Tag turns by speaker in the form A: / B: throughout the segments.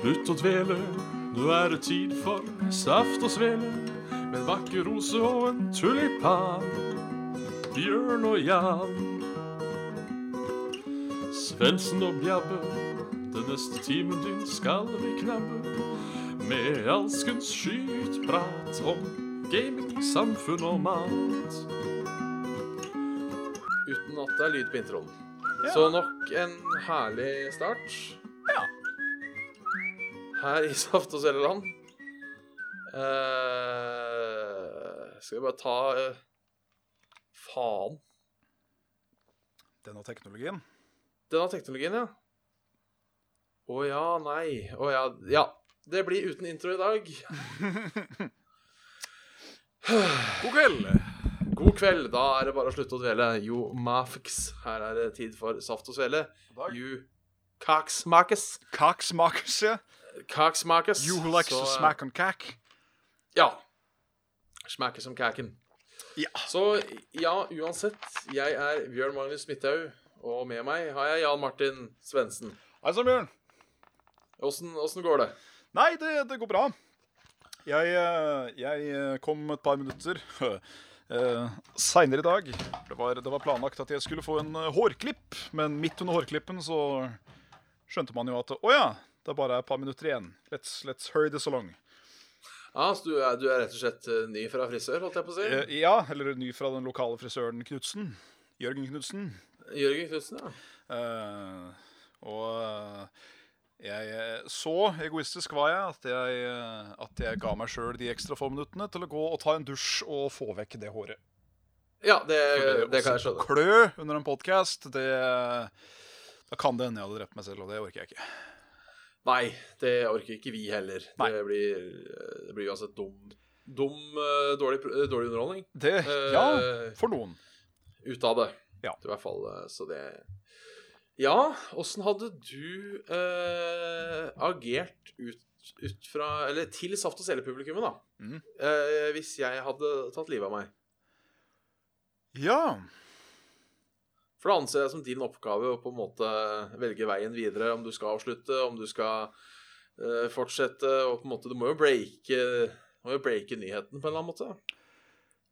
A: Slutt å dvele, nå er det tid for saft og svele. Med en vakker rose og en tulipan. Bjørn og Jan. Svendsen og Bjabbe, den neste timen din skal vi knabbe. Med alskens skytprat om gaming, samfunn og mat.
B: Uten at det er lyd på introen. Så nok en herlig start. Her i Saft og Seleland. Eh, skal vi bare ta eh, Faen.
C: Denne teknologien.
B: Denne teknologien, ja. Å ja, nei. Å ja. Ja. Det blir uten intro i dag.
C: God kveld!
B: God kveld. Da er det bare å slutte å dvele. Jo mafx. Her er det tid for saft og svele. You kaksmakes.
C: Kaksmakers, ja.
B: Kaksmakes.
C: You who likes
B: Så,
C: to
B: eh,
C: smack on cack.
B: Ja. Smakke som kaken.
C: Ja.
B: Så ja, uansett. Jeg er Bjørn Magnus Midthaug, og med meg har jeg Jan Martin Svendsen.
C: Hei sann, Bjørn.
B: Åssen åssen går det?
C: Nei, det, det går bra. Jeg, eh, jeg eh, kom et par minutter eh, seinere i dag. Det var, det var planlagt at jeg skulle få en eh, hårklipp, men midt under hårklippen så skjønte man jo at å ja, det er bare et par minutter igjen. Let's, let's hurry this along.
B: Ja, så du er, du er rett og slett eh, ny fra frisør, holdt jeg på å si?
C: Eh, ja, eller ny fra den lokale frisøren Knutsen. Jørgen Knutsen.
B: Jørgen Knutsen, ja.
C: Eh, og eh, jeg eh, så egoistisk var jeg at jeg, eh, at jeg ga meg sjøl de ekstra få minuttene til å gå og ta en dusj og få vekk det håret.
B: Ja, det,
C: For
B: Eh, det kan
C: å
B: jeg skjønne.
C: Klø under en podkast, det Da kan det hende jeg hadde drept meg selv, og det orker jeg ikke.
B: Nei, det orker ikke vi heller.
C: Nei.
B: Det blir, eh, det blir uansett dum, dum eh, dårlig, pr- eh, dårlig underholdning
C: Det,
B: Eh,
C: ja, for noen.
B: ut av det.
C: Ja.
B: I hvert fall, eh, så det Ja, åssen hadde du eh, agert ut, ut fra Eller til Saft og Sele-publikummet, da.
C: Mhm.
B: Eh, hvis jeg hadde tatt livet av meg.
C: Ja.
B: For da anser jeg som din oppgave å på en måte velge veien videre, om du skal avslutte, om du skal eh, fortsette, og på en måte Du må jo breake du må jo breake nyheten på en eller annen måte.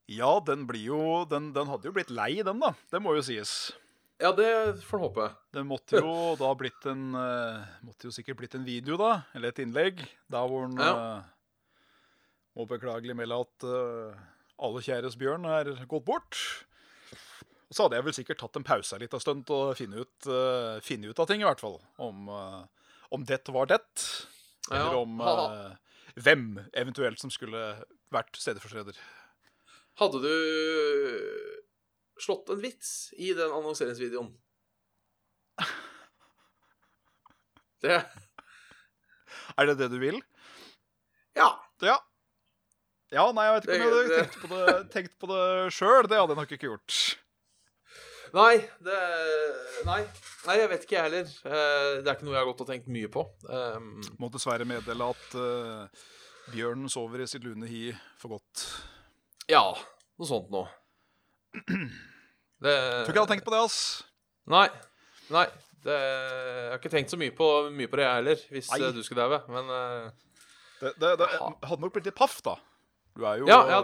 C: Ja, den blir jo Den, den hadde jo blitt lei, den, da. Det må jo sies.
B: Ja, det får en håpe.
C: Det måtte jo da blitt en eh, Måtte jo sikkert blitt en video, da. Eller et innlegg. Der hvor han
B: Ja.
C: eh, må beklagelig melde at eh, alle kjæres bjørn er gått bort. Og så hadde jeg vel sikkert tatt en pause litt av stund og finne ut, eh, finne ut av ting, i hvert fall. Om, eh, om det var det, eller
B: Ja.
C: om
B: Ha-
C: eh, hvem eventuelt som skulle vært stedfortreder.
B: Hadde du slått en vits i den annonseringsvideoen? Det
C: Er det det du vil?
B: Ja.
C: Ja. Ja, nei, jeg vet ikke om jeg hadde
B: Det-
C: tenkt på det, tenkt på det sjøl. Det hadde jeg nok ikke gjort.
B: Nei, det Nei, nei jeg vet ikke, jeg heller. Eh, Det er ikke noe jeg har gått og tenkt mye på. Um,
C: Må dessverre meddele at eh, bjørnen sover i sitt lune hi for godt.
B: Ja, noe sånt noe. Det
C: Tror ikke jeg hadde tenkt på det, ass.
B: Nei. Nei. Det, jeg har ikke tenkt så mye på, mye på det, jeg heller, hvis
C: Nei.
B: eh, du skulle daue. Men eh,
C: Det, det, det hadde nok blitt litt paff, da. Du er jo,
B: Ja, ja.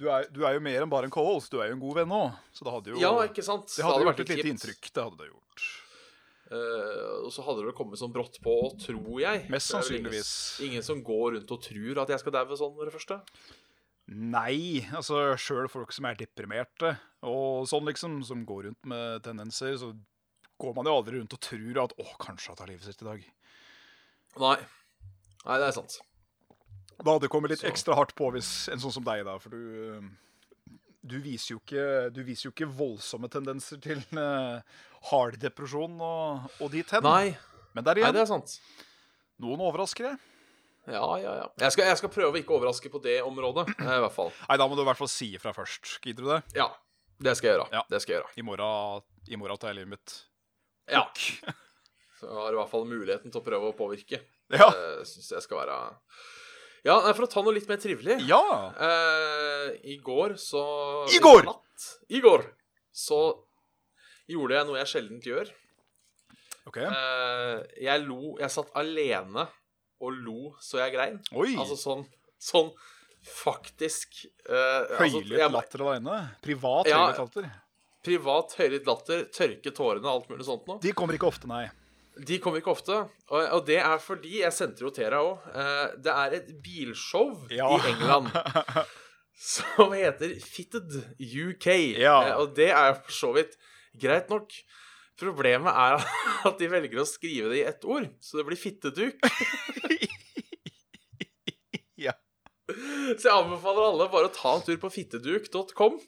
C: Du, er, du er jo mer enn bare en co-host, du er jo en god venn òg. Så det hadde jo
B: ja, ikke sant?
C: det hadde gjort
B: vært
C: et
B: litt
C: lite
B: kjipt.
C: inntrykk. Det hadde det gjort.
B: Eh, og så hadde det kommet sånn brått på, tror jeg. Det er
C: Mest
B: vel
C: sannsynligvis.
B: Ingen, ingen som går rundt og tror at jeg skal daue sånn med det første.
C: Nei, altså sjøl folk som er deprimerte og sånn, liksom, som går rundt med tendenser, så går man jo aldri rundt og tror at 'Å, kanskje han tar livet sitt i dag'.
B: Nei. Nei, det er sant.
C: Da hadde det kommet litt
B: Så.
C: ekstra hardt på hvis en sånn som deg, da, for du eh, du viser, jo ikke, du viser jo ikke voldsomme tendenser til eh, hard depresjon og, og dit hen.
B: Nei,
C: Men der
B: nei
C: igjen,
B: det er sant.
C: noen overraskere.
B: Ja, ja, ja. Jeg skal, jeg skal prøve å ikke overraske på det området, eh, i hvert fall.
C: Nei, da må du i hvert fall si ifra først. Gidder du det?
B: Ja. Det skal jeg gjøre.
C: Ja.
B: Det skal jeg gjøre.
C: I morgen, i morgen tar jeg livet mitt.
B: Ja. Så jeg har i hvert fall muligheten til å prøve å påvirke.
C: Ja.
B: Det syns jeg skal være Ja, nei, for å ta noe litt mer trivelig
C: ja!
B: eh, I går så
C: I går!
B: Natt, I går så gjorde jeg Eh, noe jeg sjelden gjør.
C: OK.
B: Eh, jeg lo Jeg satt alene og lo så jeg grein.
C: Oi!
B: Altså sånn, sånn faktisk eh, altså,
C: høylytt
B: jeg-
C: latter aleine. Privat
B: Ja.
C: høylytt latter.
B: Privat høylytt latter, tørke tårene og alt mulig sånt noe.
C: De kommer ikke ofte, nei.
B: De kommer ikke ofte. Og, og det er fordi Jeg sendte jo Tera òg. det er et bilshow
C: Ja.
B: i England som heter Fitted UK.
C: Ja.
B: Eh, og det er for så vidt greit nok. Problemet er at de velger å skrive det i ett ord, så det blir fitteduk.
C: Ja.
B: Så jeg anbefaler alle bare å ta en tur på fitteduk.com.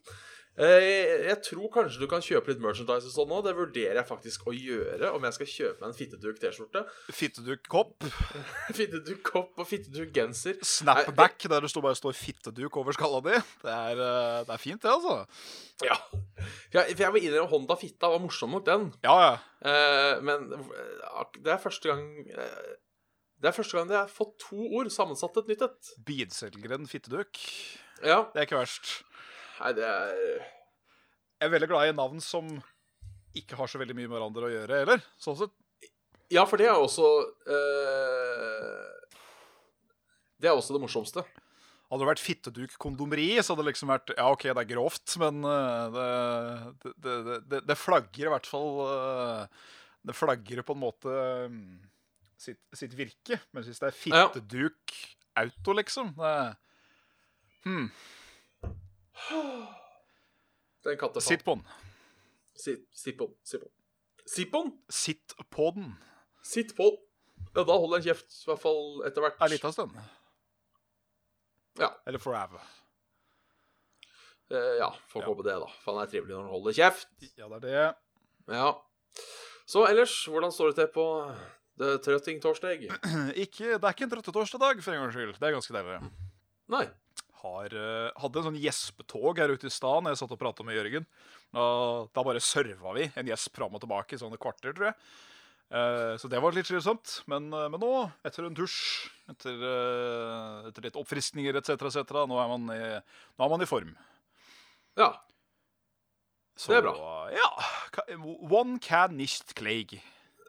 B: Eh, Jeg tror kanskje du kan kjøpe litt merchandise og sånn nå. Det vurderer jeg faktisk å gjøre, om jeg skal kjøpe meg en fitteduk-T-skjorte.
C: Fitteduk-kopp.
B: Fitteduk-kopp og fitteduk-genser.
C: Snapback, der det står bare står 'fitteduk' over skalla di. Det er, eh, det er fint, det, altså.
B: Ja. ja. For jeg må innrømme Honda Fitta var morsom nok, den.
C: Ja, ja.
B: Eh, Men eh, ak- det er første gang eh, Det er første gang jeg har fått to ord sammensatt et nytt et.
C: Bilselgeren fitteduk.
B: Ja.
C: Det er ikke verst.
B: Nei, det er
C: Jeg er veldig glad i navn som ikke har så veldig mye med hverandre å gjøre, heller. Sånn sett.
B: Ja, for det er også eh, Det er også det morsomste.
C: Hadde det vært fitteduk-kondomeri, så hadde det liksom vært Ja, OK, det er grovt, men eh, det, det, det, det, det flagger i hvert fall eh, Det flagger på en måte mm, sitt, sitt virke. Men hvis det er
B: Ja, ja.
C: fitteduk-auto, liksom det, hmm,
B: Den katta
C: Sitt på den.
B: Sitt, sitt på den. Sitt på den. Sitt på den! Sitt
C: Sitt på den
B: på den! Ja, da holder jeg kjeft, i hvert fall etter hvert.
C: ei lita stund.
B: Ja.
C: Eller forever.
B: Eh, ja, får
C: Ja.
B: håpe det, da. For han er trivelig når han holder kjeft.
C: Ja, det er det.
B: Ja. Så ellers, hvordan står det til på The Trøtting Torsdag?
C: Ikke, det er ikke en trøttetorsdag, for en gangs skyld. Det er ganske deilig.
B: Nei.
C: har, eh, hadde en sånn gjespetog her ute i stad når jeg satt og prata med Jørgen. Og da bare serva vi en gjesp fram og tilbake i sånne kvarter, tror jeg. Eh, så det var litt slitsomt. Men, eh, men nå, etter en dusj, etter, eh, etter litt oppfriskninger etc., etc., nå, er man i- nå er man i form.
B: Ja.
C: Så,
B: Det er
C: Ja. ka- One can nicht klage.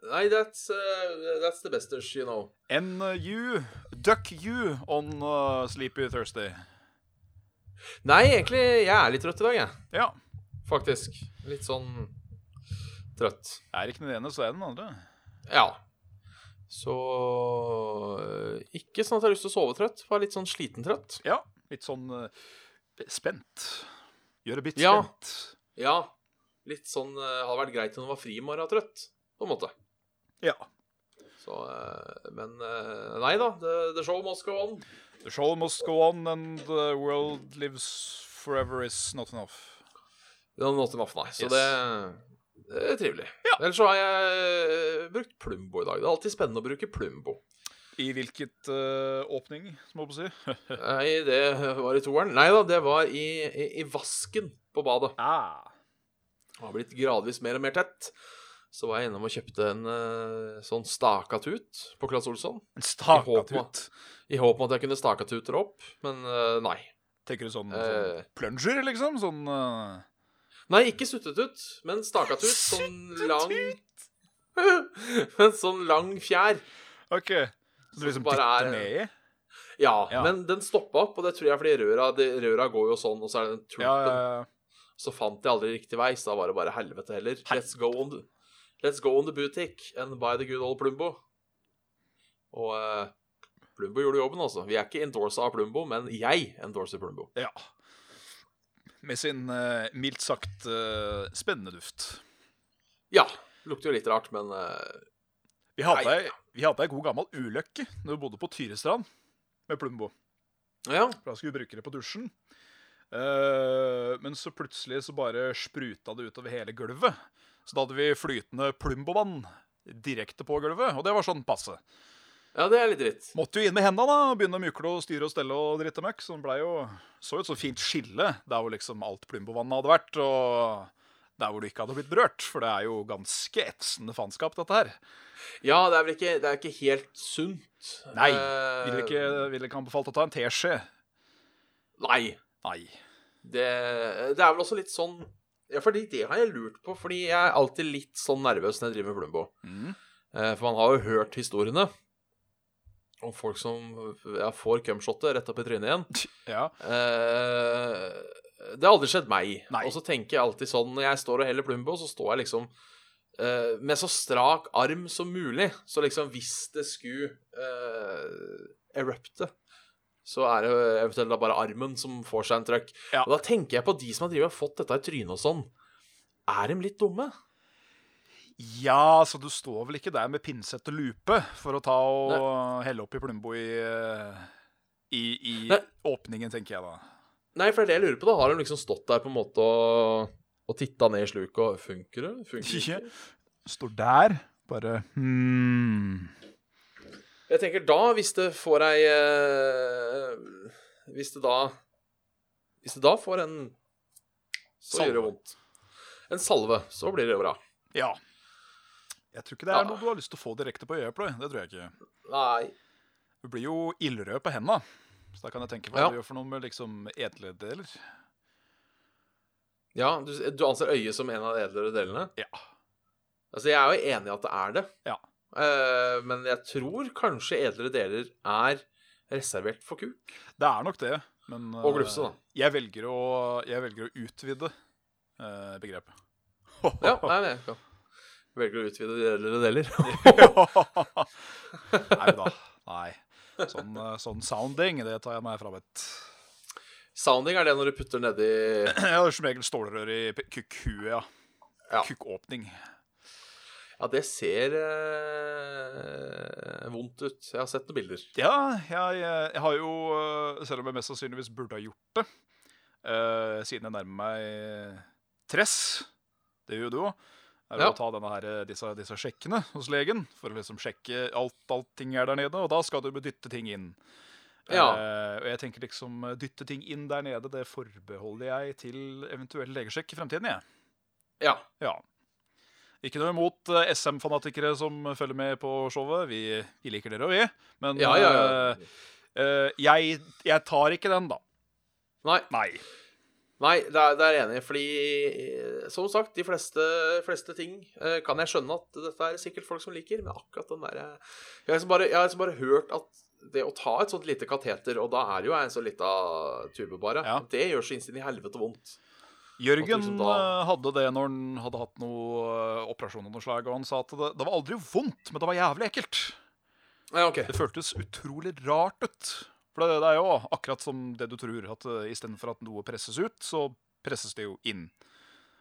B: Nei, that's, eh, that's the besters, you know.
C: And eh, you, duck you on eh, sleepy Thursday.
B: Nei, egentlig, jeg er litt trøtt i dag, jeg.
C: Ja.
B: Faktisk. Litt sånn trøtt.
C: Er ikke den ene, så er den andre.
B: Ja. Så eh, Ikke sånn at jeg har lyst til å sove trøtt, bare litt sånn sliten trøtt.
C: Ja, litt sånn eh, spent. Gjøre bitt
B: Ja.
C: spent.
B: Ja. Litt sånn eh, Hadde vært greit om det var fri i morgen, trøtt, på en måte.
C: Ja.
B: Så eh, Men eh, nei da. The, the show must go on.
C: The show must go on, and the world lives forever is not enough.
B: Det er not enough, nei. Så
C: Yes.
B: det, det er trivelig.
C: Ja.
B: Ellers så har jeg eh, brukt Plumbo i dag. Det er alltid spennende å bruke Plumbo.
C: I hvilket eh, åpning, må jeg på å si?
B: Nei, det var i toeren. Nei da, det var i, i, i vasken på badet.
C: ah.
B: Det har blitt gradvis mer og mer tett. Så var jeg innom og kjøpte en eh, sånn stakatut på Claes Olsson.
C: En
B: Jeg håper
C: stakatut.
B: I håp om at jeg kunne stakatuter opp, men eh, nei.
C: Tenker du sånn,
B: Eh.
C: sånn plunger, liksom? Sånn eh,
B: Nei, ikke suttetut, men stakatut. Sånn lang
C: Suttetut!
B: Men sånn lang fjær.
C: OK. Så du liksom
B: bare er-
C: dytter
B: eh,
C: ned i?
B: Ja,
C: Ja.
B: men den stoppa opp, og det tror jeg fordi røra, de, røra går jo sånn, og så er det den truppen.
C: Ja, ja, ja.
B: Så fant jeg aldri riktig vei, så da var det bare helvete heller. Let's go on the, let's go on the boutique and buy the good old Plumbo. Og eh, Plumbo gjorde jobben, altså. Vi er ikke endorsa av Plumbo, men jeg endorser Plumbo.
C: ja. Med sin eh, mildt sagt eh, spennende duft.
B: Ja. Lukter jo litt rart, men eh,
C: Vi hadde,
B: Nei.
C: ei, vi hadde ei god gammel ulykke når vi bodde på Tyrestrand med Plumbo.
B: ja.
C: For da skulle vi bruke det på dusjen. Eh, men så plutselig så bare spruta det utover hele gulvet. Så da hadde vi flytende Plumbo-vann direkte på gulvet, og det var sånn passe.
B: ja, det er litt dritt.
C: Måtte jo inn med henda da, og begynne å mykle og styre og stelle og drite møkk. Så det blei jo så jo et så fint skille der hvor liksom alt Plumbo-vannet hadde vært, og der hvor det ikke hadde blitt berørt. For det er jo ganske etsende faenskap, dette her.
B: Ja, det er vel ikke, det er ikke helt sunt.
C: Nei,
B: Eh,
C: Ville ikke, vil ikke anbefalt å ta en teskje.
B: Nei.
C: Nei.
B: Det, det er vel også litt sånn Ja, fordi det har jeg lurt på, fordi jeg er alltid Mm. litt sånn nervøs når jeg driver med Plumbo. Eh, For man har jo hørt historiene. Og folk som ja, får cumshotet rett opp i trynet igjen.
C: Ja.
B: Eh, det har aldri skjedd meg.
C: Nei.
B: Og så tenker jeg alltid sånn når jeg står og heller Plumbo, så står jeg liksom eh, med så strak arm som mulig. Så liksom hvis det skulle eh, erupte, så er det eventuelt da bare armen som får seg en trøkk.
C: Ja.
B: Og da tenker jeg på de som har drivet og fått dette i trynet og sånn. Er de litt dumme?
C: ja, så du står vel ikke der med pinsett og lupe for å ta og helle opp i Plumbo i, eh, i, i
B: Nei.
C: åpningen, tenker jeg da.
B: Nei, for det er det jeg lurer på. da Har de liksom stått der på en måte og, og titta ned i sluket og Funker det? Funker det?
C: Ikke
B: ikke?
C: står der, bare hmm.
B: Jeg tenker da, hvis det får ei eh, Hvis det da Hvis det da får en Så gjør det
C: Salve.
B: vondt. En salve, så blir det bra.
C: Sånn. Ja. Jeg tror ikke det
B: Ja.
C: er noe du har lyst til å få direkte på øyeeplet. Det tror jeg ikke.
B: Nei.
C: Du blir jo ildrød på henda. Så da kan jeg tenke på hva
B: Ja.
C: du gjør for noe med liksom edledeler.
B: Ja, du, du anser øyet som en av de edlere delene?
C: Ja.
B: Altså, jeg er jo enig i at det er det.
C: Ja.
B: Eh, men jeg tror kanskje edlere deler er reservert for kuk.
C: Det er nok det, men eh,
B: Og glufse, da.
C: Jeg velger å, jeg velger å utvide eh, begrepet.
B: Ja, nei, nei, ja. Velger å utvide de edlere deler.
C: Nei da. Nei. Sånn, eh, sånn sounding, det tar jeg meg frabedt.
B: Sounding er det når du putter nedi
C: Jeg har som regel stålrør i p- kukkhue, ja.
B: Ja.
C: Kukkåpning.
B: Ja, det ser eh, vondt ut. Jeg har sett noen bilder.
C: Ja, jeg, jeg har jo, øh, selv om jeg mest sannsynligvis burde ha gjort det, øh, siden jeg nærmer meg tress, det gjør jo du òg, er
B: Ja.
C: å ta denne her, øh, disse, disse sjekkene hos legen for å liksom sjekke alt, alt ting er der nede, og da skal du dytte ting inn.
B: Ja.
C: Eh, og jeg tenker liksom øh, dytte ting inn der nede, det forbeholder jeg til eventuell legesjekk i fremtiden, jeg.
B: Ja.
C: Ja. Ikke noe imot eh, SM-fanatikere som følger med på showet. Vi, vi liker dere og vi. Men
B: Ja, ja, ja.
C: eh, eh, jeg, jeg tar ikke den, da.
B: Nei,
C: Nei.
B: nei det, er, det er jeg enig. i, Fordi, eh, som sagt, de fleste, fleste ting eh, kan jeg skjønne at dette er sikkert folk som liker, men akkurat den derre jeg, har liksom bare- jeg har liksom bare hørt at det å ta et sånt lite kateter, og da er det jo en sånn lita tube, bare,
C: Ja.
B: det gjør så innst inn i helvete vondt.
C: Jørgen
B: At liksom da-
C: eh, hadde det når han hadde hatt noe eh, operasjon av noe slag, og han sa at det, det var aldri vondt, men det var jævlig ekkelt.
B: Ja, OK.
C: Det føltes utrolig rart ut. For det, det er jo akkurat som det du tror, at eh, istedenfor at noe presses ut, så presses det jo inn.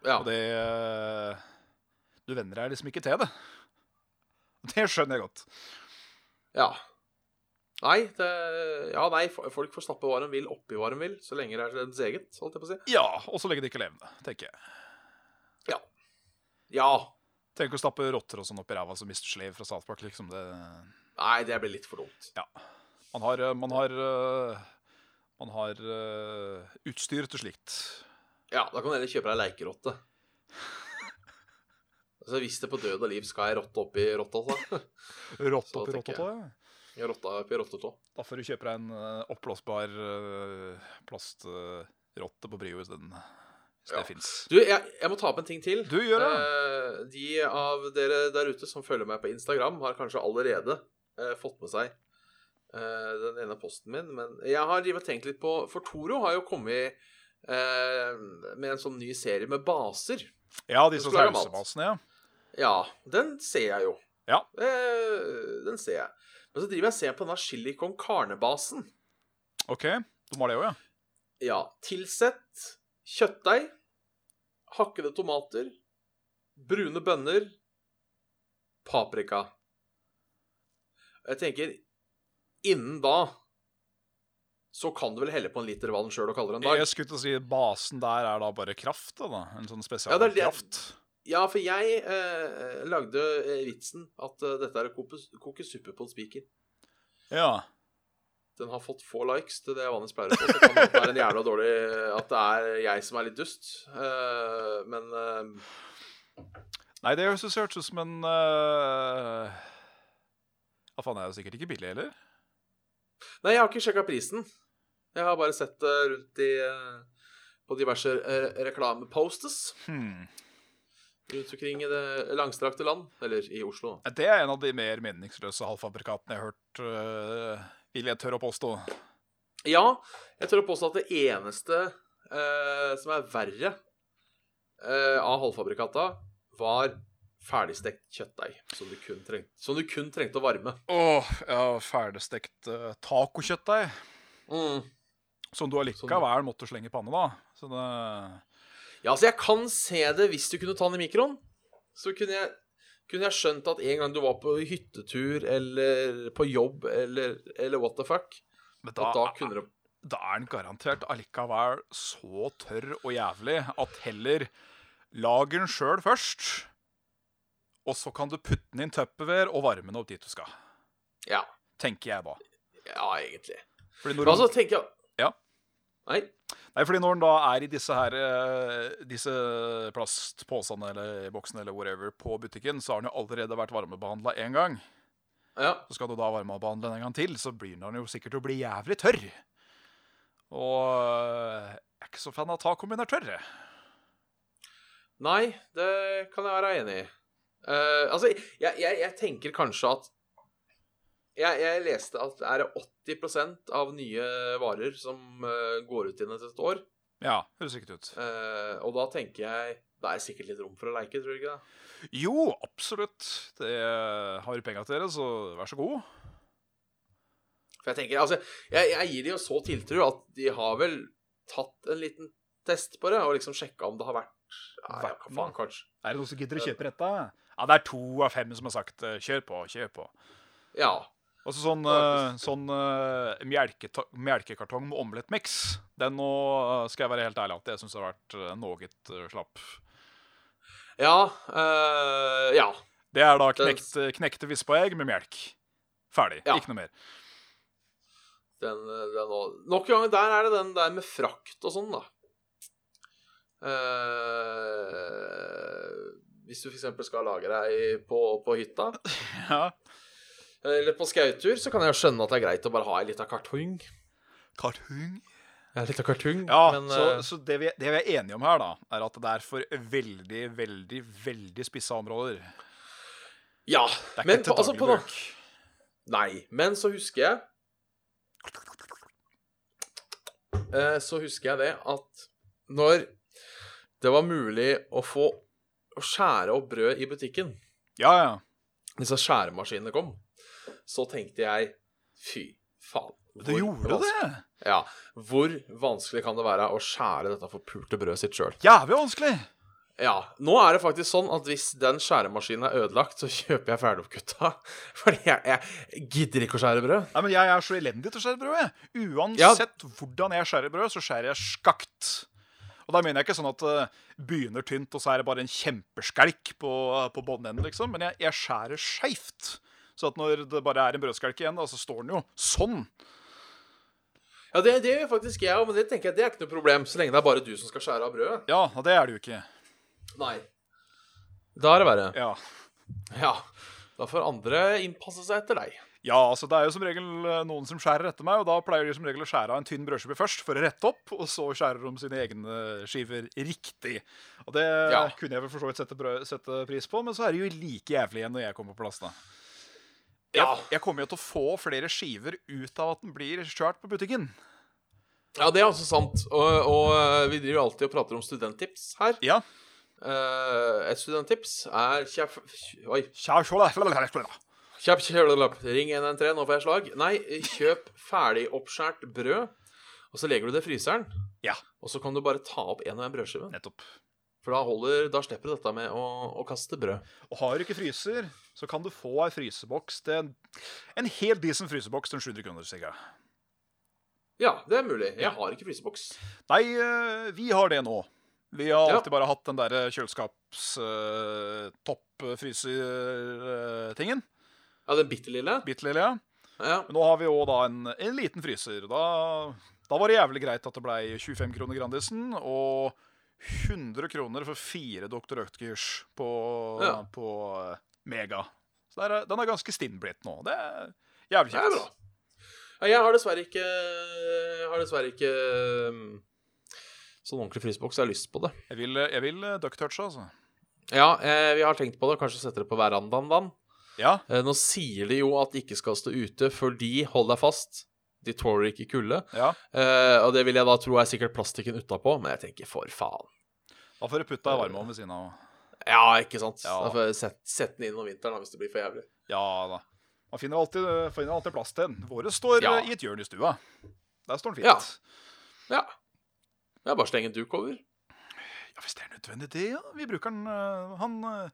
B: Ja.
C: Og det eh, Du venner deg liksom ikke til det. Det skjønner jeg godt.
B: Ja. Nei, det, ja, nei, fo- folk får snappe hva de vil, oppi hva de vil, så lenge det er deres eget, holdt jeg på å si.
C: Ja, og så lenge det ikke er levende, tenker jeg.
B: Ja.
C: Tenk å stappe rotter og sånn opp i ræva som Mr. Slave fra South Park, liksom. Det,
B: Nei, det blir litt for dumt.
C: man har eh, Man har, eh, man har eh, utstyr til slikt.
B: Ja, da kan du heller kjøpe deg leikerotte. Altså, hvis det på død og liv skal ei rotte oppi rotta, så.
C: Rått
B: Så
C: oppi
B: tenker jeg.
C: rottetå, ja.
B: Ja, Rotta oppi rottetå.
C: Da får du kjøpe deg en eh, oppblåsbar uh, plastrotte på Brio isteden. Hvis
B: Ja.
C: det fins.
B: Du, jeg, jeg må ta opp en ting til.
C: Du gjør det.
B: Eh, de av dere der ute som følger meg på Instagram, har kanskje allerede eh, fått med seg eh, den ene posten min. Men jeg har drivet og tenkt litt på For Toro har jo kommet eh, med en sånn ny serie med baser.
C: Ja, disse
B: skal lage mat.
C: sausebasene, ja.
B: Ja, den ser jeg jo.
C: Ja.
B: Eh, den ser jeg. Men så driver jeg og ser på denne chili con carne-basen.
C: OK. De har det òg, ja.
B: Ja. Tilsett kjøttdeig, hakkede tomater, brune bønner, paprika. Jeg tenker innen da så kan du vel helle på en liter vann sjøl og kalle det en dag.
C: Jeg skulle til å si basen der er da bare kraft, da. da. En sånn
B: Ja, det er
C: spesialkraft.
B: det-
C: kraft.
B: Ja, for jeg eh, lagde eh, vitsen at eh, dette er å koke, koke suppe på en spiker.
C: Ja.
B: Den har fått få likes til det jeg vanligvis pleier å få. Så det kan godt være en jævla dårlig eh, at det er jeg som er litt dust. Eh, men eh,
C: Nei, det høres hørtes ut som en øh... Ja, faen, det er jo sikkert ikke billig heller.
B: Nei, jeg har ikke sjekka prisen. Jeg har bare sett det eh, rundt i eh, på diverse re reklamepostes.
C: Hmm.
B: eh, rundt omkring i det langstrakte land. Eller i Oslo. da.
C: Det er en av de mer meningsløse halvfabrikatene jeg har hørt, øh, vil jeg tørre å påstå.
B: Ja, jeg tør å påstå at det eneste eh, som er verre eh, av halvfabrikata, var ferdigstekt kjøttdeig som du kun trengte, som du kun trengte å varme.
C: Åh, ja, ferdigstekt uh, tacokjøttdeig.
B: Mm.
C: Som du allikevel måtte slenge i panne, da. Så det,
B: Ja, altså jeg kan se det hvis du kunne ta den i mikroen. Så kunne jeg, kunne jeg skjønt at en gang du var på hyttetur eller på jobb eller, eller what the fuck
C: men
B: At
C: da,
B: da kunne det
C: da er den garantert allikevel så tørr og jævlig at heller lag den sjøl først, og så kan du putte den i en tupperware og varme den opp dit du skal.
B: Ja,
C: Tenker jeg, da.
B: ja egentlig.
C: Fordi
B: Men
C: når,
B: altså, tenker jeg
C: Ja.
B: Nei.
C: nei, fordi når den da er i disse her eh, Disse plastposene eller boksene eller whatever på butikken, så har den jo allerede vært varmebehandla én gang.
B: Ja.
C: Så skal du da varmebehandle den en gang til, så blir den jo sikkert å bli jævlig tørr. Og eh, jeg er ikke så fan av tacoen min er tørr. jeg.
B: Nei, det kan jeg være enig i. Eh, altså, jeg, jeg, jeg tenker kanskje at jeg, jeg leste at er det 80 av nye varer som eh, går ut igjen etter et år.
C: Ja, høres sikkert ut.
B: Eh, og da tenker jeg Det er sikkert litt rom for å leike, tror du ikke det?
C: Jo, absolutt. Det eh, har du penga til dere, så vær så god.
B: For jeg tenker, altså, jeg, jeg gir de jo så tiltro at de har vel tatt en liten test på det, og liksom sjekka om det har vært Nei, ja, hva faen, kanskje.
C: Er det noen som gidder å kjøpe dette? Ja, det er to av fem som har sagt eh, kjør på, kjør på.
B: Ja.
C: Og så sånn, eh, sånn eh, melketa- melkekartong med omelettmiks. Den nå eh, skal jeg være helt ærlig at jeg syns har vært eh, noe eh, slapp.
B: Ja. eh, ja.
C: Det er da
B: Den-
C: knekt, eh, knekte vispaegg med melk. Ferdig.
B: Ja.
C: Ikke noe mer.
B: Den, den og, nok en gang, der er det den der med frakt og sånn, da. Eh, hvis du f.eks. skal lage deg på, på hytta,
C: Ja.
B: eller på skautur, så kan jeg jo skjønne at det er greit å bare ha ei lita kartong.
C: Kartung.
B: Ja, litt av kartung,
C: Ja,
B: men
C: så,
B: eh,
C: så det, vi, det vi er enige om her, da, er at det er for veldig, veldig, veldig spissa områder.
B: Ja.
C: Det er
B: Men
C: ikke til
B: på- altså, på
C: daglig bruk.
B: Nei. Men så husker jeg eh, Så husker jeg det at når det var mulig å få å skjære opp brød i butikken,
C: Ja, ja.
B: disse skjæremaskinene kom, så tenkte jeg fy faen.
C: Du gjorde
B: vanskelig,
C: det?
B: Ja. Hvor vanskelig kan det være å skjære dette forpulte brødet sitt sjøl?
C: Jævlig vanskelig!
B: Ja. Nå er det faktisk sånn at hvis den skjæremaskinen er ødelagt, så kjøper jeg ferdigoppkutta. Fordi jeg, jeg gidder ikke å skjære brød.
C: Nei, men Jeg er så elendig til å skjære brød. jeg.
B: Ja.
C: Uansett hvordan jeg skjærer brød, så skjærer jeg skakt. Og da mener jeg ikke sånn at det begynner tynt, og så er det bare en kjempeskelk på, på båndenden, liksom. Men jeg, jeg skjærer skeivt. Så at når det bare er en brødskelk igjen, da, så står den jo sånn.
B: Ja, det, det gjør faktisk jeg òg, men det tenker jeg det er ikke noe problem, så lenge det er bare du som skal skjære av brødet.
C: Ja, og det er det jo ikke.
B: Nei. Da er det verre.
C: Ja.
B: Ja. Da får andre innpasse seg etter deg.
C: Ja, altså Det er jo som regel eh, noen som skjærer etter meg, og da pleier de som regel å skjære av en tynn brødskive først for å rette opp, og så skjærer de sine egne skiver riktig. Og Det
B: Ja.
C: kunne jeg vel for så vidt sette, brød, sette pris på, men så er det jo like jævlig igjen når jeg kommer på plass, da.
B: Ja.
C: Jeg, jeg kommer jo til å få flere skiver ut av at den blir kjørt på butikken.
B: Ja, det er altså sant. Og, og eh, vi driver jo alltid og prater om studenttips her.
C: Ja.
B: Eh, et studenttips er kjapp... Oi.
C: Kjær, kjær, kjær, kjær, kjær, kjær.
B: Kjapp kjølelapp. Ring 113, nå får jeg slag. Nei, kjøp ferdigoppskåret brød, og så legger du det i fryseren.
C: Ja.
B: Og så kan du bare ta opp en og en brødskive.
C: Nettopp.
B: For da, holder, da slipper du dette med å, å kaste brød.
C: Og har du ikke fryser, så kan du få ei fryseboks til en, en helt decent fryseboks til en 700 kroner, sikkert.
B: Ja, det er mulig. Jeg har ikke fryseboks.
C: Nei, eh, vi har det nå. Vi har
B: Ja.
C: alltid bare hatt den derre eh, kjøleskapstopp-fryser-tingen.
B: Ja, den bitte lille?
C: Bitte lille, ja.
B: Ja.
C: eh, Men nå har vi òg da en, en liten fryser. Da, da var det jævlig greit at det blei 25 kroner Grandisen og 100 kroner for fire Dr. Ødgers på,
B: Ja.
C: på eh, Mega. Så der er, eh, den er ganske stinn blitt nå. Det er jævlig
B: Det er
C: kjekt.
B: bra. Ja, jeg har dessverre ikke jeg Har dessverre ikke um, sånn ordentlig fryseboks. Jeg har lyst på det.
C: Jeg vil, jeg vil eh, duck eh, touch, altså.
B: Ja, eh, vi har tenkt på det. Kanskje sette det på verandaen, vann.
C: Ja,
B: Eh, nå sier de jo at de ikke skal stå ute, fordi, hold deg fast, de tåler ikke kulde.
C: ja.
B: Eh, og det vil jeg da tro er sikkert plastikken utapå, men jeg tenker for faen.
C: Da får du putta ei varmeovn ved siden av.
B: Ja, ikke sant?
C: Ja.
B: Da får jeg sett, sett den inn om vinteren da, hvis det blir for jævlig.
C: Ja da. Man finner alltid, finner alltid plass til den. Våre står
B: Ja.
C: eh, i et hjørne i stua. Der står den
B: Ja.
C: fint.
B: Ja. Ja, bare sleng en duk over.
C: Ja, hvis det er nødvendig, det, ja. Vi bruker den. eh, Han, eh,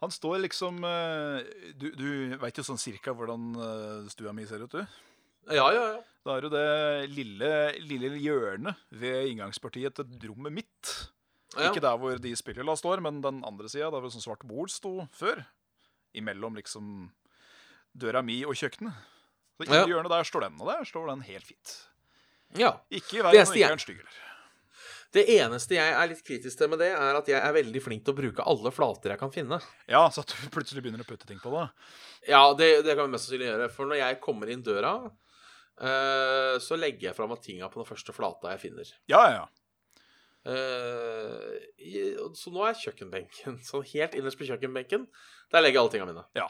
C: han står liksom eh, Du, du veit jo sånn cirka hvordan eh, stua mi ser ut, du.
B: Ja, ja, ja.
C: Da er jo det lille, lille hjørnet ved inngangspartiet til rommet mitt.
B: ja.
C: Ikke der hvor de spillhylla står, men den andre sida, der hvor sånn svart bord sto før. Imellom liksom døra mi og kjøkkenet. Så inni
B: Ja.
C: hjørnet der står den, og der står den helt fint.
B: ja.
C: Ikke
B: Det
C: i veien, og
B: eneste
C: ikke
B: jeg-
C: en stygg heller.
B: Det eneste jeg er litt kritisk til med det, er at jeg er veldig flink til å bruke alle flater jeg kan finne.
C: Ja, så at du plutselig begynner å putte ting på det.
B: Ja, det, det kan vi mest sannsynlig gjøre. For når jeg kommer inn døra, eh, så legger jeg fra meg tinga på den første flata jeg finner.
C: Ja, ja, ja.
B: Eh, i- og så nå er kjøkkenbenken sånn helt innerst på kjøkkenbenken. Der legger jeg alle tinga mine.
C: Ja.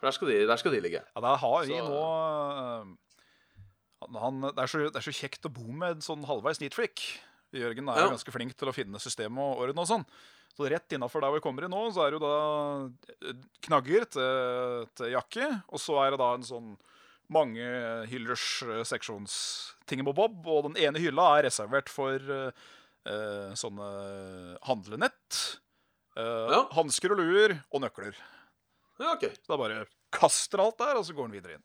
B: For der skal de, der skal de ligge.
C: Ja, der har vi
B: Så-
C: nå eh, han, det, er så, det er så kjekt å bo med en sånn halvveis neatfreak. Jørgen er jo
B: Ja.
C: ganske flink til å finne system og orden og sånn. Så rett innafor der vi kommer i nå, så er det jo da eh, knagger til, til jakke. Og så er det da en sånn mange hyllers eh, seksjonsting med Bob. Og den ene hylla er reservert for eh, eh, sånne handlenett. eh,
B: Ja.
C: Hansker og luer og nøkler.
B: Ja, ok.
C: Så da bare kaster alt der, og så går den videre inn.